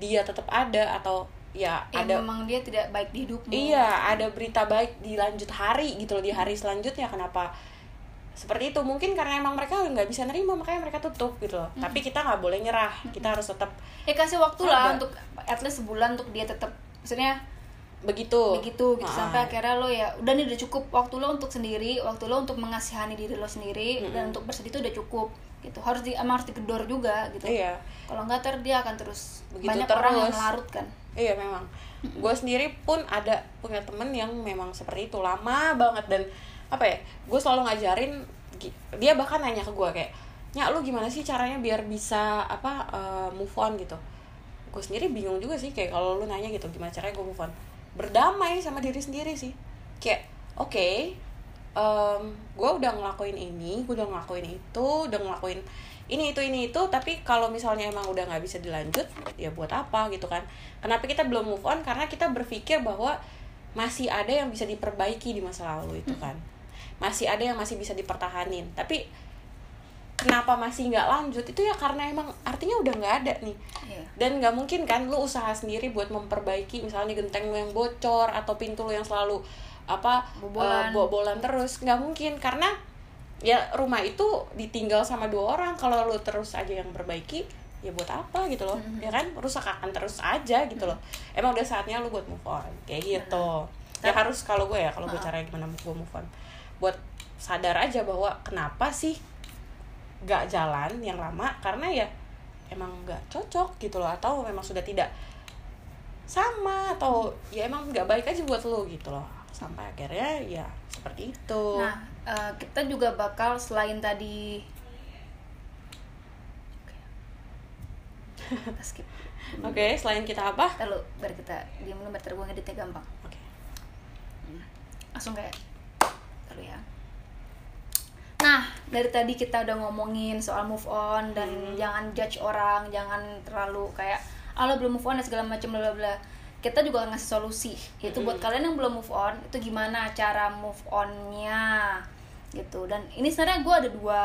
S1: dia tetap ada atau ya
S2: ya
S1: ada
S2: memang dia tidak baik di hidupmu
S1: iya ada berita baik di lanjut hari gitu loh di hari selanjutnya kenapa seperti itu mungkin karena emang mereka nggak bisa nerima makanya mereka tutup gitu loh tapi kita nggak boleh nyerah kita harus tetap
S2: ya kasih waktu
S1: Ada.
S2: lah untuk at least sebulan untuk dia tetap maksudnya
S1: begitu
S2: begitu gitu
S1: Ah.
S2: sampai akhirnya lo ya udah nih udah cukup waktu lo untuk sendiri waktu lo untuk mengasihani diri lo sendiri dan untuk bersedih itu udah cukup gitu harus di emang harus digedor juga gitu
S1: iya
S2: kalau nggak ter dia akan terus
S1: Begitu
S2: banyak orang yang
S1: terus.
S2: larut kan
S1: Iya memang. Gue sendiri pun ada punya temen yang memang seperti itu lama banget dan apa ya? Gue selalu ngajarin gi- dia bahkan nanya ke gue kayak, "Nyak, lu gimana sih caranya biar bisa apa eh, move on gitu?" Gue sendiri bingung juga sih kayak kalau lu nanya gitu gimana caranya gue move on. Berdamai sama diri sendiri sih. Kayak, "Oke, gue udah ngelakuin ini, gue udah ngelakuin itu, udah ngelakuin ini itu ini itu, tapi kalau misalnya emang udah nggak bisa dilanjut, ya buat apa gitu kan? Kenapa kita belum move on? Karena kita berpikir bahwa masih ada yang bisa diperbaiki di masa lalu itu kan, masih ada yang masih bisa dipertahanin. Tapi kenapa masih nggak lanjut? Itu ya karena emang artinya udah nggak ada nih
S2: Iya.
S1: dan nggak mungkin kan lu usaha sendiri buat memperbaiki misalnya genteng lu yang bocor atau pintu lu yang selalu apa
S2: Bobolan.
S1: eh, bobolan terus nggak mungkin karena ya rumah itu ditinggal sama dua orang kalau lu terus aja yang perbaiki ya buat apa gitu loh
S2: Mm-hmm.
S1: ya kan rusak akan terus aja gitu loh emang udah saatnya lu buat move on kayak
S2: Mm-hmm.
S1: gitu ya harus kalau gue ya kalau gue caranya gimana gue move on buat sadar aja bahwa kenapa sih gak jalan yang lama karena ya emang nggak cocok gitu loh atau memang sudah tidak sama atau ya emang nggak baik aja buat lo gitu loh sampai akhirnya ya seperti itu
S2: nah eh, kita juga bakal selain tadi kita skip
S1: oke selain kita apa
S2: Ntar lu biar kita diam dulu biar ntar gue ngeditnya gampang
S1: oke
S2: langsung kayak terus ya nah dari tadi kita udah ngomongin soal move on dan jangan judge orang jangan terlalu kayak ah lo belum move on dan segala macam bla bla bla kita juga ngasih solusi yaitu buat kalian yang belum move on itu gimana cara move onnya gitu dan ini sebenarnya gue ada dua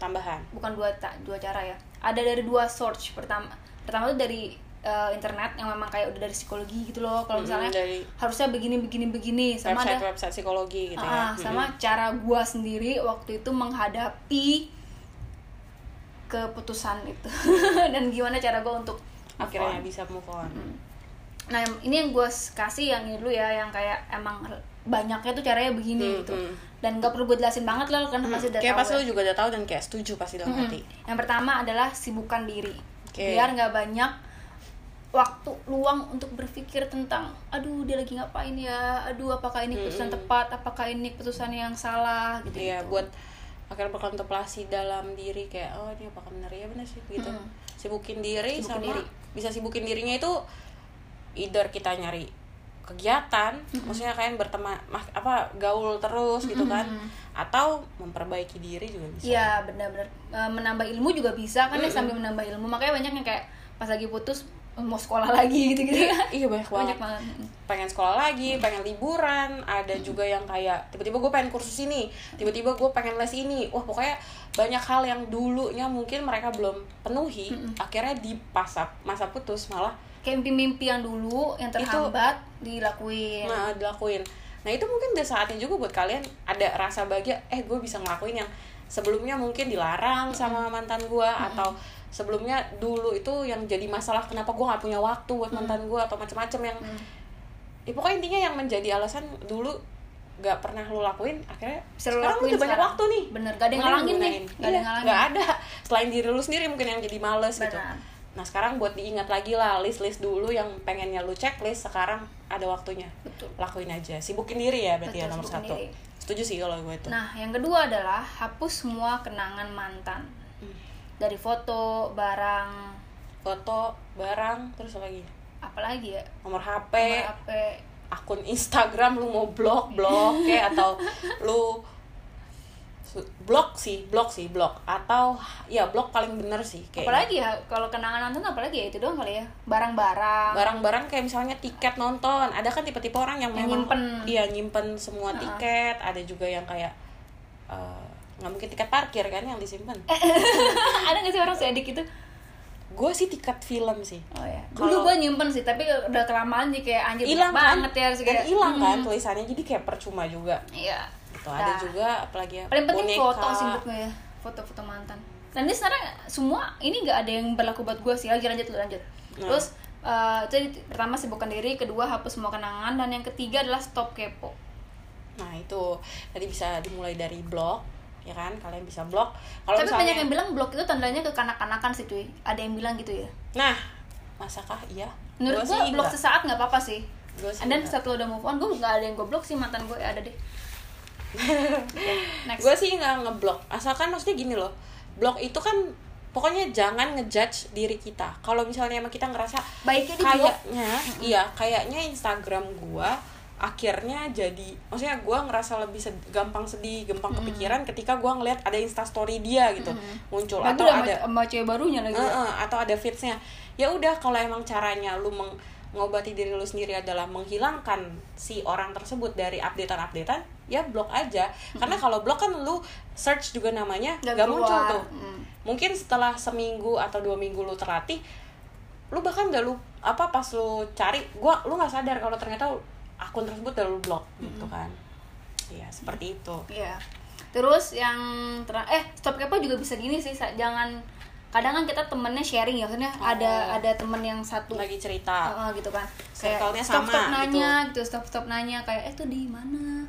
S1: tambahan
S2: bukan dua ta- dua cara ya ada dari dua source pertama pertama tuh dari eh, internet yang memang kayak udah dari psikologi gitu loh kalau
S1: Mm-mm,
S2: misalnya
S1: dari-
S2: harusnya begini begini begini sama
S1: website
S2: ada
S1: website psikologi gitu
S2: Ah,
S1: ya
S2: sama cara gua sendiri waktu itu menghadapi keputusan itu dan gimana cara gua untuk
S1: Mm-mm.
S2: move
S1: akhirnya
S2: on.
S1: bisa move on
S2: nah yang- ini yang gue kasih yang ini dulu ya yang kayak emang banyaknya tuh caranya begini
S1: Hmm,
S2: gitu
S1: hmm.
S2: dan gak perlu gue jelasin banget lah lo kan pasti udah
S1: kayak
S2: tahu
S1: pasti
S2: ya.
S1: lu juga udah tahu dan kayak setuju pasti dalam
S2: Mm-mm.
S1: hati
S2: Mm-hmm. yang pertama adalah sibukkan diri
S1: gitu, Oke.
S2: biar nggak banyak waktu luang untuk berpikir tentang aduh dia lagi ngapain ya aduh apakah ini keputusan tepat apakah ini keputusan yang salah gitu
S1: Iya, buat akhirnya berkontemplasi dalam diri kayak oh ini apakah benar ya benar sih gitu.
S2: Mm.
S1: Sibukin diri
S2: Sibukin
S1: sama
S2: diri.
S1: bisa sibukin dirinya itu either kita nyari kegiatan, maksudnya kalian berteman mah- apa gaul terus gitu kan atau memperbaiki diri juga bisa.
S2: Iya benar-benar E, menambah ilmu juga bisa kan ya sambil menambah ilmu makanya banyak yang kayak pas lagi putus e, mau sekolah lagi gitu-gitu ya
S1: Iya banyak banget.
S2: banyak banget
S1: pengen sekolah lagi, pengen liburan, ada juga yang kayak tiba-tiba gue pengen kursus ini, tiba-tiba gue pengen les ini, wah pokoknya banyak hal yang dulunya mungkin mereka belum penuhi, akhirnya di masa masa putus malah
S2: kayak mimpi-mimpi yang dulu yang terhambat dilakuin
S1: nah, dilakuin. Nah itu mungkin udah saatnya juga buat kalian ada rasa bahagia, eh gue bisa ngelakuin yang sebelumnya mungkin dilarang sama mantan gue atau sebelumnya dulu itu yang jadi masalah kenapa gue nggak punya waktu
S2: Mm.
S1: buat mantan gue atau macam-macam yang ya pokoknya intinya yang menjadi alasan dulu gak pernah lu lakuin akhirnya
S2: Bisa lu
S1: sekarang lu
S2: lakuin
S1: udah banyak
S2: sekarang.
S1: waktu nih
S2: Bener, gak ada yang
S1: Mending
S2: ngalangin nih.
S1: gunain.
S2: Gak ada
S1: Iya,
S2: yang ngalangin.
S1: gak ada selain diri lu sendiri mungkin yang jadi males gitu
S2: Benar.
S1: nah sekarang buat diingat lagi lah list list dulu yang pengennya lu checklist sekarang ada waktunya
S2: Betul.
S1: lakuin aja sibukin diri ya berarti
S2: Betul,
S1: ya nomor
S2: sibukin
S1: satu
S2: diri.
S1: setuju sih kalau gue itu
S2: Nah, yang kedua adalah hapus semua kenangan mantan. Dari foto, barang,
S1: foto barang terus apa lagi
S2: apalagi ya?
S1: nomor HP
S2: Nomor HP.
S1: Iya, akun Instagram lu mau blok blok kayak atau lu su- blok sih blok sih blok atau ya blok paling bener sih kayak
S2: Apalagi ya kalau kenangan mantan apalagi ya itu doang kali ya. Barang-barang.
S1: barang-barang kayak misalnya tiket nonton ada kan tipe-tipe orang yang,
S2: Yang
S1: memang
S2: nyimpen.
S1: iya nyimpen semua tiket ada juga yang kayak eh, nggak mungkin tiket parkir kan yang disimpan
S2: Eh. ada gak sih orang sedik itu?
S1: gue sih tiket film sih
S2: Oh ya.
S1: Kalau-
S2: Dulu gua nyimpen sih, tapi udah kelamaan sih kayak anjir
S1: hilang kan
S2: banget ya harus
S1: Dan
S2: kayak-
S1: hilang kan tulisannya jadi kayak percuma juga
S2: Iya.
S1: gitu ada
S2: Nah,
S1: juga apalagi ya,
S2: Paling penting
S1: boneka.
S2: foto sih menurut gue ya. Foto-foto mantan. Dan ini sekarang semua ini nggak ada yang berlaku buat gue sih. Lagi lanjut lu lanjut.
S1: Nah.
S2: Terus eh, itu di- pertama sibukkan diri, kedua hapus semua kenangan, dan yang ketiga adalah stop kepo.
S1: Nah itu tadi bisa dimulai dari blog, ya kan? Kalian bisa blog. Kalau
S2: Tapi banyak
S1: misalnya,
S2: yang bilang blok itu tandanya kekanak-kanakan sih cuy. Ada yang bilang gitu ya.
S1: nah masakah iya?
S2: Menurut
S1: Gua
S2: gue
S1: sih
S2: blok
S1: enggak.
S2: sesaat nggak apa-apa sih.
S1: Gua sih
S2: Dan
S1: enggak.
S2: setelah udah move on, gue nggak ada yang gue blok sih mantan gue ada deh. Oke, Next.
S1: Gue sih nggak ngeblok. Asalkan maksudnya gini loh, blog itu kan pokoknya jangan ngejudge diri kita. Kalau misalnya emang kita ngerasa
S2: Baiknya di blok.
S1: kayaknya, iya kayaknya Instagram gua akhirnya jadi maksudnya gua ngerasa lebih sed- gampang sedih, gampang kepikiran ketika gua ngelihat ada instastory dia gitu muncul
S2: Lagi
S1: atau
S2: udah
S1: ada
S2: sama, sama cewek barunya lagi.
S1: Heeh, atau ada fitsnya ya udah kalau emang caranya lu meng- mengobati diri lu sendiri adalah menghilangkan si orang tersebut dari updatean-updatean ya blok aja karena kalau blok kan lu search juga namanya
S2: Nggak
S1: gak muncul
S2: keluar.
S1: tuh
S2: Mm.
S1: mungkin setelah seminggu atau dua minggu lu terlatih lu bahkan udah lu apa pas lu cari gua lu nggak sadar kalau ternyata akun tersebut udah lu blok gitu kan Iya seperti itu
S2: Iya. Terus yang ter eh stop kepo juga bisa gini sih, Sa. jangan kadang kan kita temennya sharing ya, maksudnya ada ada temen yang satu
S1: lagi cerita
S2: Heeh, gitu kan.
S1: Circle-nya
S2: stop stop
S1: sama,
S2: nanya gitu, stop stop nanya kayak eh itu di mana?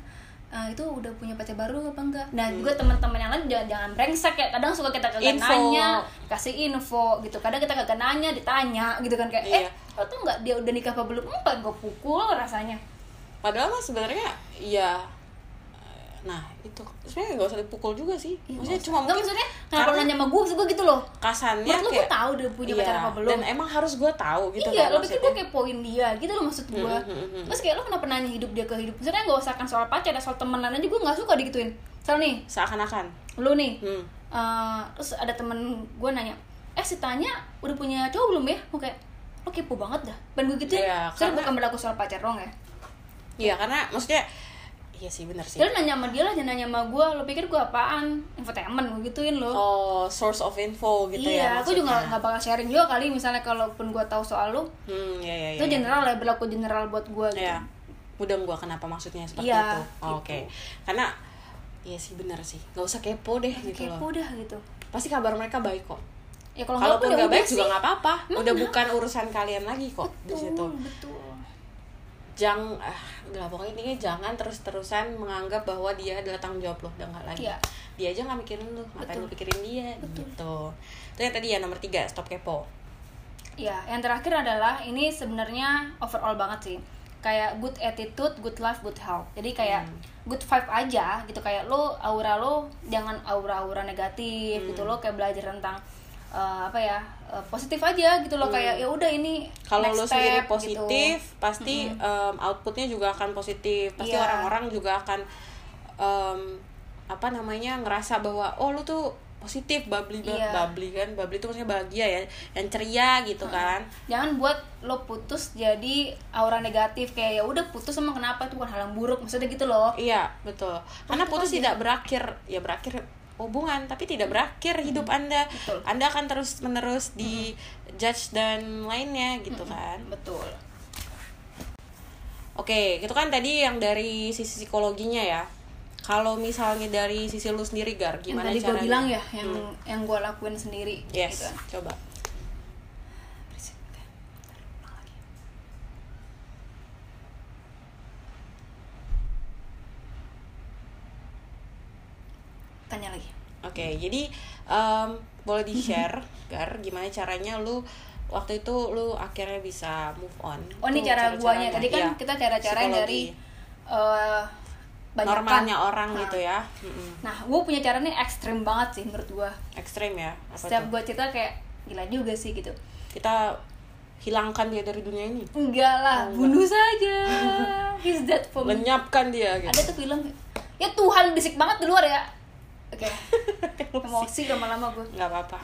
S2: Eh, itu udah punya pacar baru apa enggak? Nah, juga teman-teman yang lain jangan, jangan brengsek ya. Kadang suka kita kagak
S1: Hmm. Info.
S2: nanya, kasih info gitu. Kadang kita kagak nanya, ditanya gitu kan kayak eh
S1: Iya.
S2: lo tuh enggak dia udah nikah apa belum? Enggak, gue pukul rasanya.
S1: padahal mah sebenarnya ya nah itu sebenarnya nggak usah dipukul juga sih
S2: Iya,
S1: maksudnya cuma
S2: Enggak
S1: mungkin
S2: maksudnya kenapa lo nanya sama gue? Maksud gue gitu loh.
S1: kasannya
S2: Menurut lu
S1: kayak
S2: gue tahu dia punya pacar
S1: iya,
S2: apa belum?
S1: dan emang harus gue tahu gitu kan
S2: iya, lo pikir gue
S1: maksudnya. Hmm,
S2: kepoin dia gitu loh maksud gue. Terus kayak lo kenapa nanya hidup dia ke hidup? Maksudnya gak usah kan soal pacar, soal temenan aja gue gak suka digituin. Misal nih,
S1: seakan-akan
S2: lu nih,
S1: hmm.
S2: eh, terus ada temen gue nanya, eh si Tanya udah punya cowok belum ya? Gue kayak, lo kepo banget dah. Ben gue gitu
S1: Iya,
S2: ya,
S1: karena-
S2: bukan berlaku soal pacar dong ya.
S1: iya karena maksudnya iya sih bener sih
S2: Ya lu nanya sama dia lah, jangan nanya sama gue. Lu pikir gue apaan? Infotainment, gue gituin lo.
S1: oh source of info gitu
S2: iya,
S1: ya
S2: aku juga
S1: maksudnya.
S2: nggak bakal sharing juga kali misalnya kalaupun gue tahu soal lu.
S1: hmm ya ya
S2: Itu general ya, berlaku general buat gue gitu.
S1: ya mudeng gua kenapa maksudnya seperti itu
S2: Iya,
S1: Oh, oke karena iya sih bener sih nggak usah kepo deh gitu loh
S2: Kepo dah gitu.
S1: pasti kabar mereka baik kok
S2: Ya kalau nggak
S1: kalaupun
S2: pun ya
S1: nggak
S2: udah
S1: baik
S2: sih.
S1: juga nggak apa-apa
S2: Emang
S1: udah
S2: kenapa?
S1: bukan urusan kalian lagi kok di situ
S2: Betul, betul.
S1: jangan ah, udah lah, pokoknya intinya jangan terus-terusan menganggap bahwa dia adalah tanggung jawab lo udah nggak lagi
S2: Iya.
S1: dia aja nggak mikirin lo ngapain
S2: Betul.
S1: lo pikirin dia gitu itu yang tadi ya nomor tiga stop kepo
S2: Ya, yang terakhir adalah ini sebenarnya overall banget sih. Kayak good attitude, good life, good health. Jadi kayak
S1: Hmm.
S2: good vibe aja gitu kayak lo aura lo jangan aura-aura negatif gitu
S1: Hmm.
S2: lo kayak belajar tentang eh, apa ya? eh, positif aja gitu lo kayak ya udah ini
S1: Hmm. kalau
S2: next
S1: lo sendiri
S2: step,"
S1: positif
S2: gitu.
S1: pasti em, outputnya juga akan positif pasti
S2: Iya.
S1: orang-orang juga akan em, apa namanya ngerasa bahwa oh lu tuh positif bubbly bu-
S2: Iya.
S1: bubbly kan bubbly itu maksudnya bahagia ya yang ceria gitu kan
S2: Jangan buat lo putus jadi aura negatif kayak ya udah putus emang kenapa itu bukan hal yang buruk maksudnya gitu loh.
S1: Iya, betul. Karena putus tidak berakhir, ya berakhir hubungan, tapi tidak berakhir hidup Anda.
S2: Betul.
S1: Anda akan terus-menerus di judge dan lainnya gitu kan.
S2: Betul.
S1: Oke, itu kan tadi yang dari sisi psikologinya ya. Kalau misalnya dari sisi lu sendiri Gar,
S2: Yang
S1: gimana
S2: tadi gue
S1: caranya? Hmm.
S2: bilang ya, yang yang gue lakuin sendiri
S1: Yes,
S2: gitu.
S1: coba.
S2: Tanya lagi.
S1: Oke, jadi em, boleh di-share Gar gimana caranya lu waktu itu lu akhirnya bisa move on.
S2: Oh ini
S1: Tuh,
S2: cara guanya
S1: cara-caranya.
S2: tadi kan
S1: Iya,
S2: kita cara-cara yang dari
S1: psikologi.
S2: eh banyakan.
S1: normalnya orang
S2: Nah.
S1: gitu ya. Mm-mm.
S2: Nah, gue punya cara nih ekstrim banget sih menurut gue.
S1: ekstrem ya apa
S2: Setiap
S1: tuh?
S2: gue cerita kayak gila juga sih gitu.
S1: kita hilangkan dia dari dunia ini
S2: Enggak lah,
S1: Oh,
S2: bunuh saja. He's dead for me.
S1: lenyapkan dia gitu
S2: Ada tuh film ya Tuhan bisik banget di luar ya. Oke. Emosi lama-lama gue. Oke.
S1: nggak apa-apa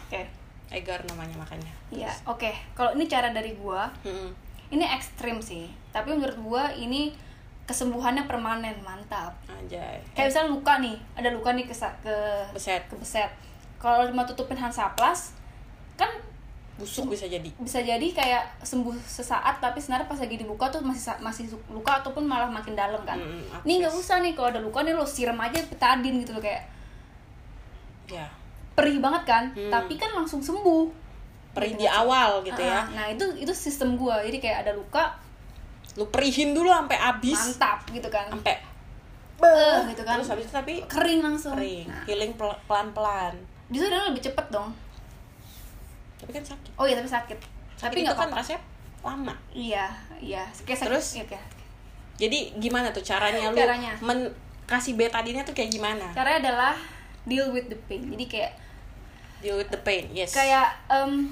S1: Egar namanya makanya
S2: Iya, oke. Kalau ini cara dari gue,
S1: Mm-mm.
S2: ini ekstrim sih. Tapi menurut gue ini kesembuhannya permanen, mantap.
S1: anjay
S2: kayak misalnya luka nih ada luka nih ke ke
S1: Beset.
S2: kebeset. kalau cuma tutupin hansaplas kan
S1: busuk bisa jadi
S2: bisa jadi kayak sembuh sesaat tapi sebenarnya pas lagi dibuka tuh masih sa- masih su- luka ataupun malah makin dalam kan
S1: Mm, mm,
S2: ini nggak
S1: akses.
S2: usah nih kalau ada luka nih lo siram aja betadin gitu loh kayak
S1: ya
S2: perih banget kan
S1: Hmm.
S2: tapi kan langsung sembuh
S1: perih di awal gitu ya
S2: Ah, nah itu itu sistem gua jadi kayak ada luka
S1: lu perihin dulu sampai habis
S2: mantap gitu kan
S1: sampai
S2: Beuh, gitu kan
S1: terus habis itu tapi
S2: kering langsung
S1: kering
S2: Nah,
S1: healing pel- pelan-pelan
S2: justru dia lebih cepet dong
S1: tapi kan sakit
S2: oh iya tapi sakit,
S1: sakit
S2: tapi
S1: itu
S2: nggak
S1: kan
S2: apa-apa
S1: rasanya lama
S2: Iya, iya. Kayak sakit-
S1: Terus?
S2: iya, kayak-
S1: jadi gimana tuh caranya lu
S2: Caranya.
S1: men kasih betadinnya tuh kayak gimana
S2: Caranya adalah deal with the pain. Jadi kayak
S1: deal with the pain yes
S2: kayak em,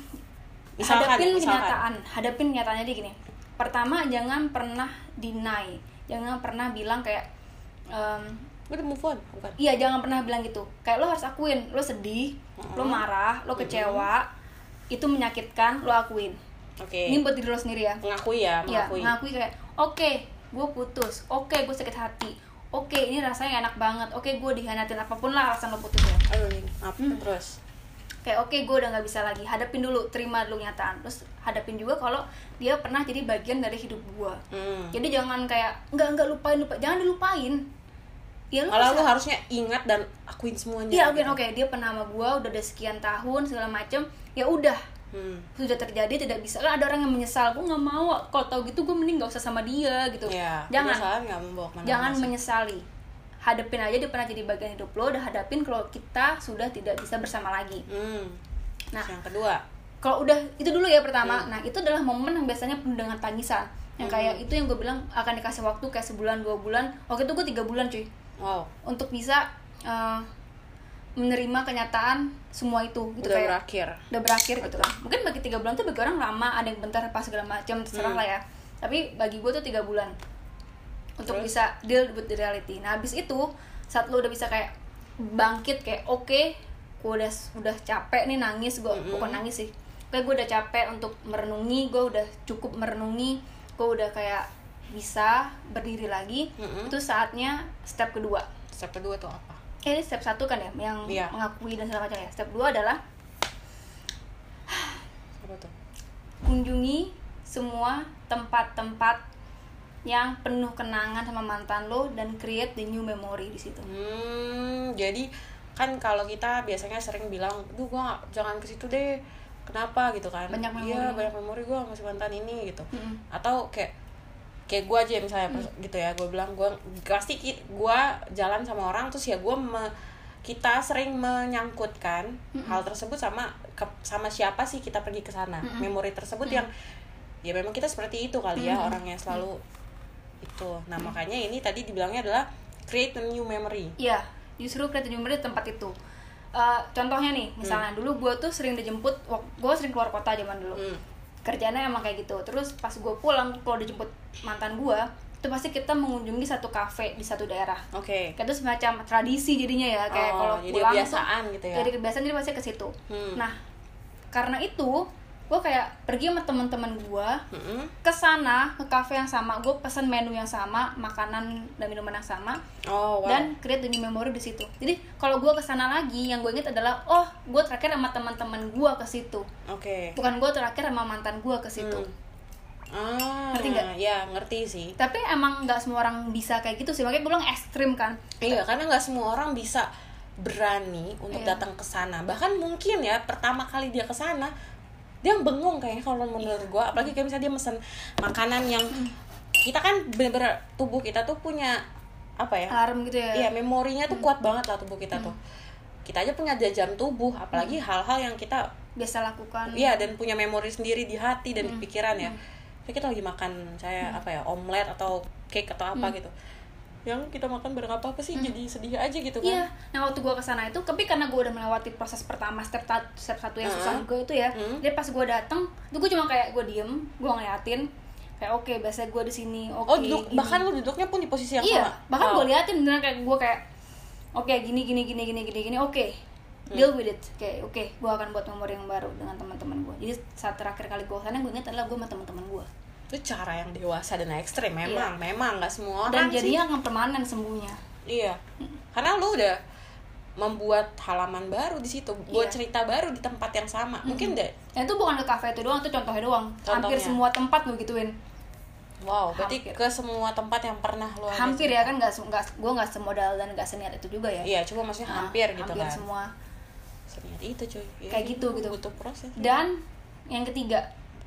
S1: Misalkan,
S2: hadapin
S1: misalkan.
S2: kenyataan, hadapin kenyataannya dia gini. Pertama, jangan pernah deny. Jangan pernah bilang kayak em,
S1: udah move on bukan
S2: iya, jangan pernah bilang gitu. Kayak lo harus akuin, lo sedih, lo
S1: Hmm.
S2: marah, lo kecewa, itu menyakitkan, lo akuin.
S1: oke
S2: Ini buat diri lo sendiri ya.
S1: mengakui ya
S2: Iya,
S1: mengakui
S2: mengakui kayak, oke, gue putus, oke, gue sakit hati, oke, ini rasanya gak enak banget, oke, gue dikhianatin apapun lah alasan lo putus ya.
S1: aduh Ling, apa terus
S2: Kayak oke, gue udah nggak bisa lagi, hadapin dulu, terima dulu kenyataan, terus hadapin juga kalau dia pernah jadi bagian dari hidup gue.
S1: hmm.
S2: Jadi jangan kayak nggak nggak lupain lupa, jangan dilupain. Ya lu
S1: malah
S2: harus-
S1: lu harusnya ingat dan akuin semuanya
S2: Iya, oke, oke, dia pernah sama gue, udah ada sekian tahun segala macem, ya udah
S1: hmm.
S2: sudah terjadi tidak bisa kan ada orang yang menyesal gue nggak mau kalau tau gitu gue mending nggak usah sama dia gitu
S1: ya
S2: jangan
S1: kesalahan nggak membawa kemana
S2: jangan menyesali hadapin aja dia pernah jadi bagian hidup lo udah hadapin kalau kita sudah tidak bisa bersama lagi
S1: hmm.
S2: Nah.
S1: Terus yang kedua
S2: kalau udah itu dulu ya pertama nah itu adalah momen yang biasanya penuh dengan tangisan yang kayak itu yang gue bilang akan dikasih waktu kayak sebulan dua bulan waktu itu gue tiga bulan cuy
S1: wow
S2: untuk bisa eh, menerima kenyataan semua itu gitu
S1: udah
S2: kayak
S1: berakhir
S2: udah berakhir gitu kan mungkin bagi tiga bulan tuh bagi orang lama ada yang bentar pas segala macam terserah lah ya tapi bagi gue tuh tiga bulan untuk bisa deal with the reality nah habis itu saat lo udah bisa kayak bangkit kayak oke gue udah udah capek nih nangis gue bukan nangis sih kayak gue udah capek untuk merenungi gue udah cukup merenungi gue udah kayak bisa berdiri lagi
S1: Mm-mm.
S2: itu saatnya step kedua
S1: step kedua tuh apa
S2: eh, ini step satu kan ya yang
S1: Iya.
S2: mengakui dan segala macam ya step dua adalah
S1: apa tuh
S2: kunjungi semua tempat-tempat yang penuh kenangan sama mantan lo dan create the new memory di situ
S1: Hmm, jadi kan kalau kita biasanya sering bilang, duh gua nggak- jangan ke situ deh. Kenapa gitu kan? Iya,
S2: Banyak memori. Hmm.
S1: banyak memori gua masih mantan ini gitu.
S2: Mm-mm.
S1: Atau kayak kayak gua aja misalnya pas-
S2: Hmm.
S1: gitu ya, gua bilang gua pasti ki- gua jalan sama orang terus ya gua me- kita sering menyangkutkan
S2: Hmm.
S1: hal tersebut sama ke- sama siapa sih kita pergi ke sana.
S2: Hmm.
S1: Memori tersebut yang ya memang kita seperti itu kali ya orangnya selalu itu. Nah, makanya ini tadi dibilangnya adalah create a new memory.
S2: Iya, justru create new memory di tempat itu. Eh, contohnya nih, misalnya dulu gue tuh sering dijemput, gue sering keluar kota zaman dulu.
S1: Hmm.
S2: Kerjanya emang kayak gitu. Terus pas gue pulang, kalau dijemput mantan gue, itu pasti kita mengunjungi satu kafe di satu daerah.
S1: Oke.
S2: Kayak itu semacam tradisi jadinya ya, kayak
S1: Oh,
S2: kalau
S1: jadi
S2: pulang
S1: kebiasaan
S2: tuh,
S1: gitu ya.
S2: Jadi kebiasaan jadi pasti ke situ.
S1: Hmm.
S2: Nah, karena itu gue kayak pergi sama teman-teman gue
S1: Mm-mm.
S2: ke sana ke kafe yang sama gue pesan menu yang sama makanan dan minuman yang sama
S1: Oh, wow.
S2: dan create the new memory di situ. Jadi kalau gue kesana lagi, yang gue inget adalah oh gue terakhir sama teman-teman gue ke situ,
S1: Oke.
S2: bukan gue terakhir sama mantan gue ke situ.
S1: Hmm. Ah,
S2: Ngerti nggak?
S1: Ya, ngerti sih.
S2: Tapi emang nggak semua orang bisa kayak gitu sih, makanya gue bilang ekstrim kan.
S1: Iya, karena nggak semua orang bisa berani untuk
S2: Iya.
S1: datang ke sana. Bahkan mungkin ya pertama kali dia ke sana dia bengong kayaknya kalau menurut
S2: Iya.
S1: gua, apalagi kayak misalnya dia mesen makanan yang
S2: Mm.
S1: kita kan bener-bener tubuh kita tuh punya apa ya?
S2: Alarm gitu ya.
S1: Iya, memorinya tuh kuat banget lah tubuh
S2: Hmm.
S1: kita tuh. Kita aja punya jam tubuh, apalagi hal-hal yang kita
S2: Biasa lakukan.
S1: Iya dan punya memori sendiri di hati dan di
S2: Hmm.
S1: pikiran ya. Kayak kita lagi makan saya apa ya omelet atau cake atau apa
S2: Hmm.
S1: gitu. Yang kita makan bareng apa apa sih jadi sedih aja gitu kan.
S2: Iya. Nah waktu gue kesana itu, tapi karena gue udah melewati proses pertama step ta- step satu yang susah gue itu ya.
S1: Hmm.
S2: Jadi pas gue datang, itu gue cuma kayak gue diem, gue ngeliatin, kayak oke biasanya gue di sini, oke.
S1: Oh duduk
S2: gini."
S1: bahkan lu duduknya pun di posisi yang Oh.
S2: iya
S1: sama.
S2: bahkan
S1: Wow.
S2: gue liatin beneran kayak gue kayak oke gini gini gini gini gini gini oke
S1: Hmm.
S2: deal with it kayak oke gue akan buat memori yang baru dengan teman-teman gue jadi saat terakhir kali gue kesana gue ingat adalah gue sama teman-teman gue
S1: itu cara yang dewasa dan ekstrim memang memang nggak semua
S2: Iya. dan
S1: orang sih.
S2: jadinya Hmm. akan permanen sembuhnya
S1: Iya. Karena lu udah membuat halaman baru di situ, buat
S2: Iya. Hmm.
S1: cerita baru di tempat yang sama. Mungkin deh.
S2: dan itu bukan ke kafe itu doang itu contohnya doang hampir
S1: Contohnya.
S2: semua tempat gue gituin
S1: Wow, berarti
S2: Hampir.
S1: ke semua tempat yang pernah lu ada.
S2: hampir ya kan nggak se- nggak gue nggak semodal dan nggak seniat itu juga ya
S1: Iya, cuma maksudnya
S2: Nah,
S1: hampir gitu
S2: hampir
S1: kan.
S2: semua
S1: Seniat itu cuy. Iya,
S2: Kayak gitu, gitu.
S1: Butuh proses.
S2: dan yang ketiga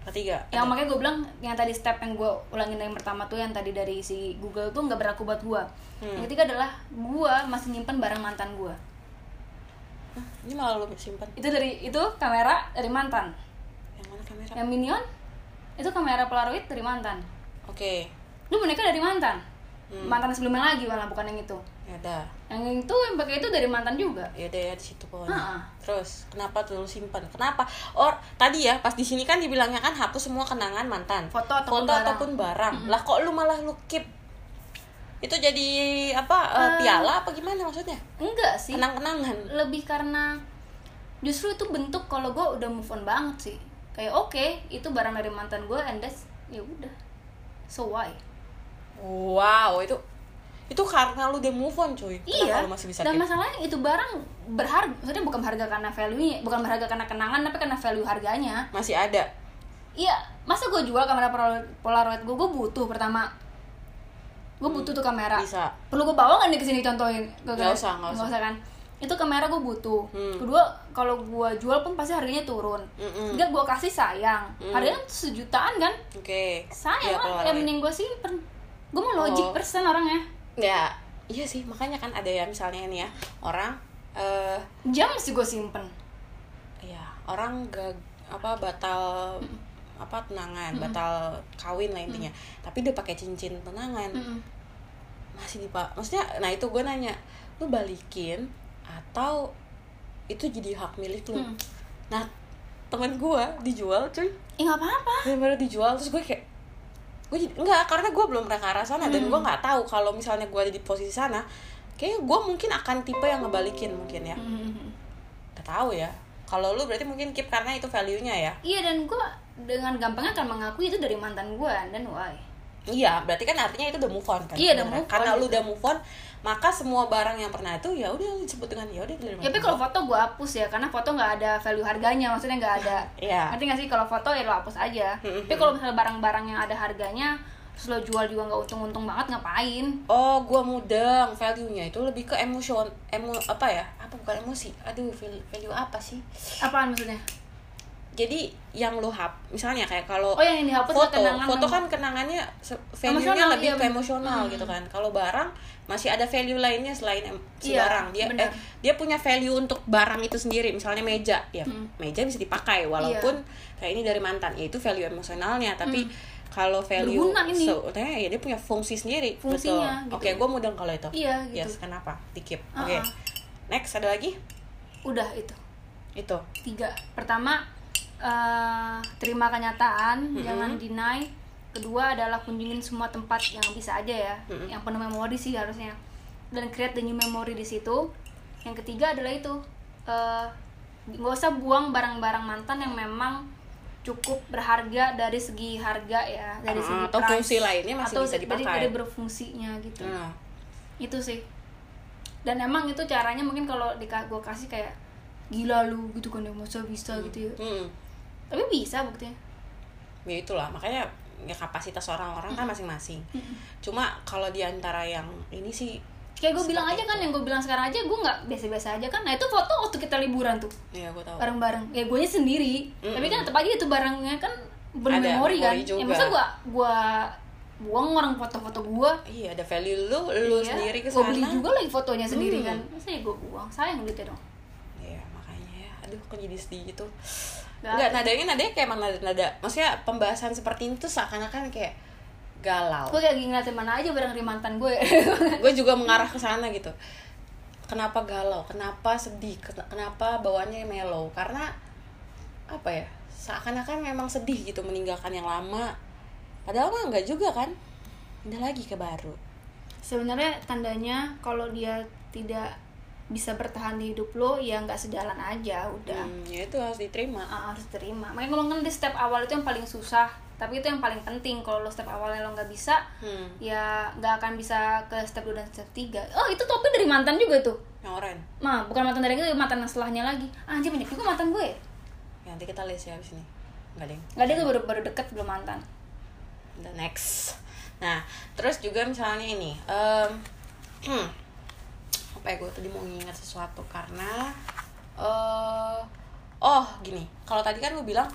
S1: ketiga ada.
S2: yang makanya gue bilang yang tadi step yang gue ulangin yang pertama tuh yang tadi dari si Google tuh nggak berlaku buat gue
S1: Hmm.
S2: yang ketiga adalah gue masih nyimpen barang mantan gue
S1: Hah, ini malah lo simpan
S2: itu dari itu kamera dari mantan
S1: yang mana kamera oke
S2: yang minion itu kamera polaroid dari mantan lu boneka dari mantan
S1: Hmm.
S2: mantan sebelumnya lagi malah bukan yang itu
S1: ya dah
S2: yang itu yang pakai itu dari mantan juga
S1: ya udah ya di situ pokoknya
S2: Ha-ha.
S1: terus kenapa tuh lo simpan kenapa or tadi ya pas di sini kan dibilangnya kan hapus semua kenangan mantan
S2: Foto ataupun barang.
S1: ataupun barang. lah kok lu malah lu keep itu jadi apa eh, piala apa gimana maksudnya
S2: enggak sih
S1: kenang kenangan
S2: lebih karena justru itu bentuk kalau gue udah move on banget sih kayak oke itu barang dari mantan gue and that's ya udah so why
S1: wow itu itu karena lu udah move on cuy Kenapa
S2: iya
S1: lu masih bisa
S2: dan
S1: keep?
S2: masalahnya itu barang berharga maksudnya bukan berharga karena value nya bukan berharga karena kenangan tapi karena value harganya
S1: masih ada
S2: iya masa gue jual kamera Polaro- polaroid gue gue butuh pertama gue butuh tuh kamera
S1: bisa
S2: perlu gue bawa nggak nih kesini contohin Gak,
S1: Nggak usah, nggak usah.
S2: kan itu kamera gue butuh
S1: Hmm.
S2: kedua kalau gue jual pun pasti harganya turun
S1: Mm-mm.
S2: Enggak gue kasih sayang
S1: Hmm.
S2: harganya sejutaan kan
S1: oke Iya,
S2: sayang lah
S1: Polaroid.
S2: yang mending gue simpen gue mau logic
S1: Oh.
S2: person orangnya
S1: ya iya sih makanya kan ada ya misalnya nih ya orang eh
S2: jam sih gue simpen
S1: ya orang gak apa batal apa tunangan batal kawin lah intinya
S2: Mm.
S1: tapi udah pakai cincin tunangan
S2: Mm-mm.
S1: masih dipak maksudnya nah itu gue nanya lu balikin atau itu jadi hak milik lu
S2: Mm.
S1: nah temen gue dijual cuy
S2: Ih Ya, nggak apa-apa
S1: bener-bener dijual terus gue kayak gue jadi enggak karena gue belum pernah ke arah sana dan
S2: Hmm.
S1: gue nggak tahu kalau misalnya gue ada di posisi sana kayaknya gue mungkin akan tipe yang ngebalikin mungkin ya
S2: Hmm.
S1: nggak tahu ya kalau lu berarti mungkin keep karena itu value nya ya
S2: Iya dan gue dengan gampangnya akan mengakui itu dari mantan gue dan why
S1: Iya, berarti kan artinya itu udah move on kan?
S2: Iya, udah
S1: Bener.
S2: move on,
S1: Karena lu
S2: gitu.
S1: udah move on, maka semua barang yang pernah itu ya udah lu sebut dengan ya udah dari
S2: Ya, tapi kalau foto gue hapus ya karena foto nggak ada value harganya maksudnya nggak ada
S1: Iya.
S2: nanti nggak sih kalau foto ya lo hapus aja
S1: Hmm.
S2: tapi kalau misalnya barang-barang yang ada harganya terus lo jual juga nggak untung-untung banget ngapain
S1: Oh, gua mudeng value-nya itu lebih ke emosion, emo apa ya? Apa bukan emosi? Aduh, val- value apa sih?
S2: apaan maksudnya
S1: Jadi yang lu hap, misalnya kayak kalau
S2: oh yang dihapus
S1: foto,
S2: kenangan
S1: foto
S2: sama-
S1: kan kenangannya se- value-nya
S2: Emosional,
S1: lebih
S2: iya,
S1: ke
S2: bener.
S1: emosional gitu kan. Kalau barang masih ada value lainnya selain em- si
S2: Iya,
S1: barang. Dia eh,
S2: bener.
S1: dia punya value untuk barang itu sendiri. Misalnya meja, ya
S2: Hmm.
S1: meja bisa dipakai walaupun
S2: Iya.
S1: kayak ini dari mantan. Ya itu value emosionalnya, tapi kalau value
S2: Hmm. Berguna ini.
S1: so- ya dia punya fungsi sendiri.
S2: Fungsinya,
S1: Betul. Oke,
S2: gitu.
S1: gue mudeng kalau itu.
S2: Iya, gitu.
S1: Yes, kenapa? Dikip.
S2: Uh-uh.
S1: Oke. Next ada lagi?
S2: udah itu
S1: Itu.
S2: tiga pertama eh, terima kenyataan
S1: Mm-hmm.
S2: jangan deny kedua adalah kunjungin semua tempat yang bisa aja ya
S1: Mm-hmm.
S2: yang penuh memori sih harusnya dan create the new memory di situ yang ketiga adalah itu eh, nggak usah buang barang-barang mantan yang memang cukup berharga dari segi harga ya dari
S1: Ah,
S2: segi
S1: atau
S2: price.
S1: fungsi lainnya masih
S2: atau
S1: bisa
S2: dari-
S1: dipakai.
S2: dari berfungsinya gitu
S1: Nah,
S2: itu sih dan emang itu caranya mungkin kalau di gue kasih kayak gila lu gitu kan ya masa bisa gitu ya
S1: hmm.
S2: tapi bisa buktinya
S1: ya itulah makanya ya kapasitas orang-orang kan masing-masing cuma kalau di antara yang ini sih
S2: kayak gue bilang aja kan yang gue bilang sekarang aja gue nggak biasa-biasa aja kan nah itu foto waktu kita liburan tuh
S1: ya gue tahu
S2: bareng-bareng ya gue sendiri tapi kan tetap aja itu barangnya kan bermemori kan
S1: Hmm. memori juga.
S2: ya masa gue gue buang orang foto-foto gue
S1: iya ada value lu lu sendiri ke
S2: gue beli
S1: sana
S2: Iya, juga lagi fotonya sendiri
S1: Hmm.
S2: kan masa ya gue buang sayang duitnya dong
S1: Iya, makanya ya aduh kok jadi sedih gitu
S2: Gak.
S1: Enggak, nadanya nadanya kayak emang nada nada maksudnya pembahasan seperti ini tuh seakan-akan kayak galau
S2: gue kayak lagi ngeliatin mana aja barang dari mantan gue
S1: gue juga mengarah ke sana gitu kenapa galau kenapa sedih ken- kenapa bawaannya mellow karena apa ya seakan-akan memang sedih gitu meninggalkan yang lama padahal mah enggak juga kan pindah lagi ke baru
S2: sebenarnya tandanya kalau dia tidak bisa bertahan di hidup lo ya nggak sejalan aja udah
S1: Hmm, ya itu harus diterima
S2: Ah, harus terima makanya kalau kan di step awal itu yang paling susah tapi itu yang paling penting kalau lo step awalnya lo nggak bisa
S1: hmm,
S2: ya nggak akan bisa ke step 2 dan step 3 oh itu topi dari mantan juga tuh
S1: yang oren
S2: mah bukan mantan dari gue mantan yang setelahnya lagi ah, anjir banyak juga mantan gue ya?
S1: Ya, nanti kita list ya abis ini nggak deh
S2: nggak ada gue baru baru deket belum mantan
S1: the next nah terus juga misalnya ini em, apa ya gue tadi mau nginget sesuatu karena eh oh gini kalau tadi kan lu bilang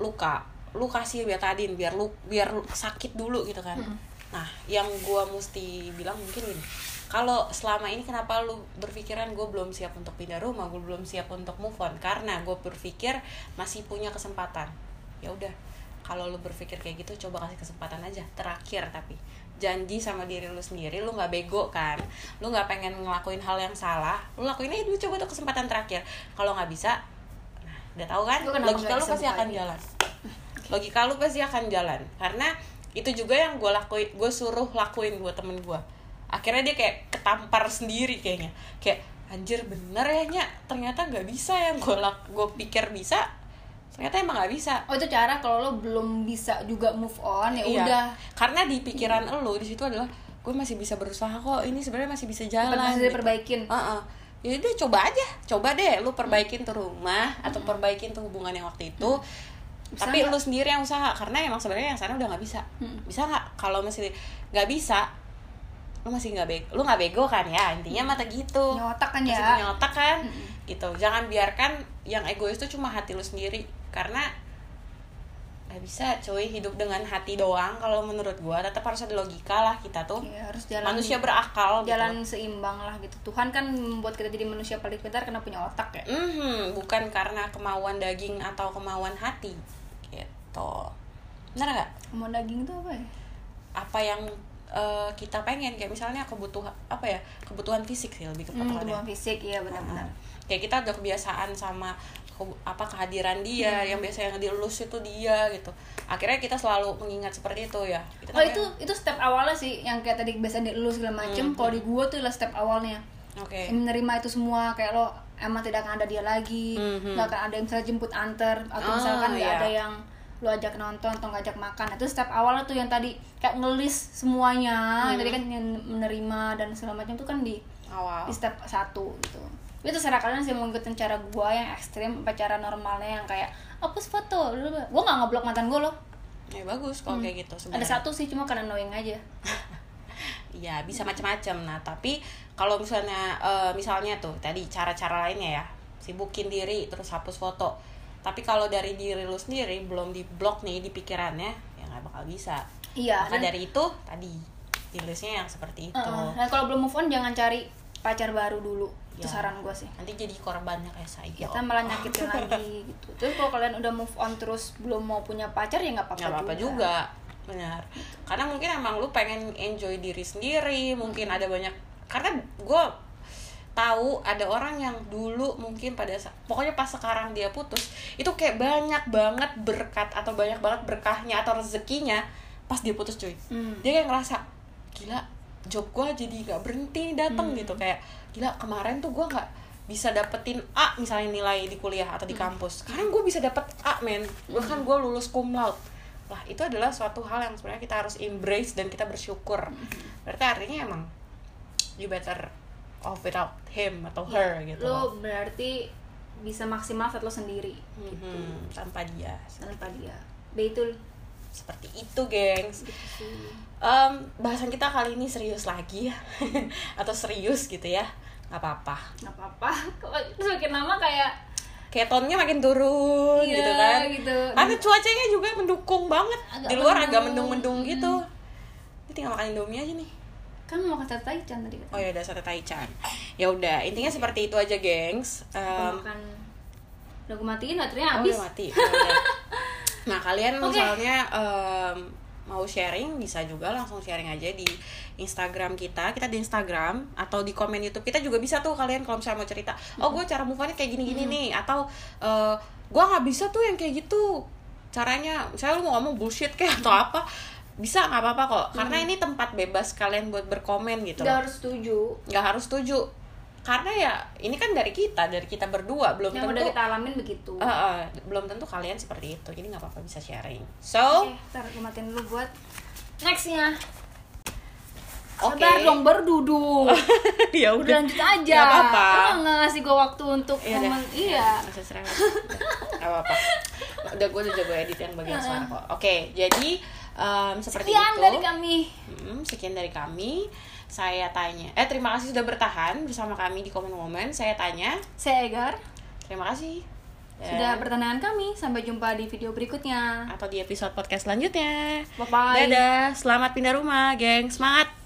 S1: luka lu kasih betadin biar lu biar lu sakit dulu gitu kan nah yang gue mesti bilang mungkin gini kalau selama ini kenapa lu berpikiran gue belum siap untuk pindah rumah gue belum siap untuk move on karena gue berpikir masih punya kesempatan ya udah kalau lu berpikir kayak gitu coba kasih kesempatan aja terakhir tapi janji sama diri lu sendiri lu nggak bego kan lu nggak pengen ngelakuin hal yang salah lu lakuin aja dulu coba tuh kesempatan terakhir kalau nggak bisa nah, udah tahu kan
S2: Gua kenapa
S1: logika
S2: nggak
S1: lu pasti
S2: kesempatan?
S1: akan jalan logika lu pasti akan jalan karena itu juga yang gue lakuin gue suruh lakuin buat temen gue akhirnya dia kayak ketampar sendiri kayaknya kayak anjir bener ya Nya. ternyata nggak bisa yang gue lak gue pikir bisa ternyata emang nggak bisa
S2: oh itu cara kalau lo belum bisa juga move on ya
S1: Iya.
S2: udah
S1: Karena di pikiran lo di situ adalah gue masih bisa berusaha kok. Ini sebenarnya masih bisa jalan.
S2: masih
S1: gitu.
S2: diperbaikin
S1: Heeh. Ya udah coba aja. Coba deh lu perbaikin tuh rumah atau perbaikin tuh hubungan yang waktu itu.
S2: Bisa
S1: Tapi
S2: nggak?
S1: lu sendiri yang usaha karena emang sebenarnya yang sana udah nggak bisa.
S2: Mm.
S1: Bisa nggak? Kalau masih nggak bisa lu masih nggak bego, lu nggak bego kan ya intinya mata gitu
S2: Punya otak kan
S1: Masih
S2: ya.
S1: punya otak kan gitu jangan biarkan yang egois itu cuma hati lu sendiri karena nggak bisa cuy hidup dengan hati doang kalau menurut gua tetap harus ada logika lah kita tuh
S2: ya harus jalan
S1: manusia berakal
S2: jalan
S1: gitu.
S2: seimbang lah gitu Tuhan kan membuat kita jadi manusia paling pintar karena punya otak ya
S1: Mhm, bukan karena kemauan daging atau kemauan hati gitu benar nggak
S2: mau daging itu apa ya
S1: apa yang eh, kita pengen kayak misalnya kebutuhan apa ya kebutuhan fisik sih lebih ke
S2: hmm,
S1: kebutuhan
S2: kebutuhan fisik iya benar-benar
S1: Nah, kayak kita ada kebiasaan sama ke- apa kehadiran dia
S2: Hmm.
S1: yang biasanya dielus itu dia gitu akhirnya kita selalu mengingat seperti itu ya itu
S2: oh
S1: namanya-
S2: itu itu step awalnya sih yang kayak tadi biasa di lu segala macem kalau di gua tuh lah step awalnya
S1: Hmm, oke
S2: Yang menerima itu semua kayak lo emang tidak akan ada dia lagi
S1: Mhm.
S2: nggak akan ada yang misalnya jemput antar atau
S1: Ah,
S2: misalkan nggak
S1: iya.
S2: ada yang lu ajak nonton atau nggak ajak makan Nah, itu step awal tuh yang tadi kayak ngelis
S1: Hmm.
S2: semuanya yang tadi kan yang menerima dan segala macam itu kan di
S1: awal
S2: di step satu gitu itu terserah kalian sih mau ngikutin cara gua yang ekstrim apa cara normalnya yang kayak hapus foto lu gua nggak ngeblok mantan gua loh
S1: ya bagus kalau kayak gitu
S2: Hmm. ada
S1: sebenarnya
S2: satu sih cuma karena knowing aja
S1: ya bisa macam-macam nah tapi kalau misalnya eh, misalnya tuh tadi cara-cara lainnya ya sibukin diri terus hapus foto tapi kalau dari diri lu sendiri belum diblok nih di pikirannya ya nggak bakal bisa
S2: iya
S1: maka
S2: dan-
S1: dari itu tadi rilisnya yang seperti itu
S2: Heeh. dan kalau belum move on jangan cari pacar baru dulu itu
S1: Ya.
S2: saran gua sih Ya,
S1: nanti jadi ya, korbannya kayak saya
S2: kita malah nyakitin lagi gitu terus kalau kalian udah move on terus belum mau punya pacar ya nggak
S1: nggak
S2: apa-apa
S1: apa-apa juga benar karena mungkin emang lu pengen enjoy diri sendiri mungkin ada banyak karena gue tahu ada orang yang dulu mungkin pada sa- pokoknya pas sekarang dia putus itu kayak banyak banget berkat atau banyak banget berkahnya atau rezekinya pas dia putus cuy
S2: Hmm.
S1: dia kayak ngerasa gila job gue jadi nggak berhenti
S2: Hmm.
S1: datang gitu kayak gila kemarin tuh gue nggak bisa dapetin A misalnya nilai di kuliah atau di
S2: Hmm.
S1: kampus sekarang gue bisa dapet A men bahkan gue lulus cum laude lah itu adalah suatu hal yang sebenarnya kita harus embrace dan kita bersyukur
S2: Hmm.
S1: berarti artinya emang you better off without him atau her gitu loh.
S2: Iya, lo Ya, berarti bisa maksimal saat lo sendiri gitu
S1: Mhm, tanpa dia
S2: tanpa dia betul
S1: seperti itu gengs
S2: gitu sih
S1: Em, bahasan kita kali ini serius lagi ya atau serius gitu ya nggak apa-apa
S2: nggak apa-apa terus makin lama kayak
S1: kayak tonnya makin turun
S2: Iya,
S1: gitu kan
S2: gitu.
S1: karena cuacanya juga mendukung banget
S2: Agak
S1: di luar agak
S2: mendung. Hmm.
S1: mendung-mendung gitu ini tinggal makan indomie aja nih
S2: kan mau kata Taichan tadi kan?
S1: oh
S2: kata
S1: ya udah sate taichan ya udah intinya seperti itu aja gengs Em,
S2: makan udah gue matiin baterainya
S1: oh,
S2: habis
S1: udah mati Ya udah. nah kalian
S2: Oke.
S1: misalnya em, mau sharing bisa juga langsung sharing aja di Instagram kita kita di Instagram atau di komen YouTube kita juga bisa tuh kalian kalau misalnya mau cerita oh gue cara move on-nya kayak gini gini nih atau eh, gue nggak bisa tuh yang kayak gitu caranya misalnya lu mau ngomong bullshit kayak atau apa bisa nggak apa-apa kok karena ini tempat bebas kalian buat berkomen gitu
S2: nggak
S1: loh
S2: harus setuju
S1: nggak harus setuju karena ya ini kan dari kita dari kita berdua belum
S2: yang
S1: tentu
S2: udah kita alamin begitu
S1: Eh, eh, belum tentu kalian seperti itu jadi nggak apa-apa bisa sharing so
S2: Oke, ntar gue matiin dulu buat nextnya.
S1: oke
S2: Sabar dong, baru duduk.
S1: ya
S2: Udah lanjut aja.
S1: Nggak apa-apa.
S2: Lu nggak ngasih gue waktu untuk
S1: Iya dah.
S2: momen. Iya.
S1: Nggak usah serang. Nggak apa-apa udah gue udah jago edit yang bagian suara kok oke jadi em, seperti
S2: Sekian
S1: itu
S2: dari kami.
S1: Mm, sekian dari kami saya tanya eh terima kasih sudah bertahan bersama kami di Common Woman saya tanya
S2: Saya Egar.
S1: terima kasih Dan-
S2: Sudah pertanyaan kami. Sampai jumpa di video berikutnya.
S1: atau di episode podcast selanjutnya
S2: Bye-bye.
S1: dadah selamat pindah rumah geng semangat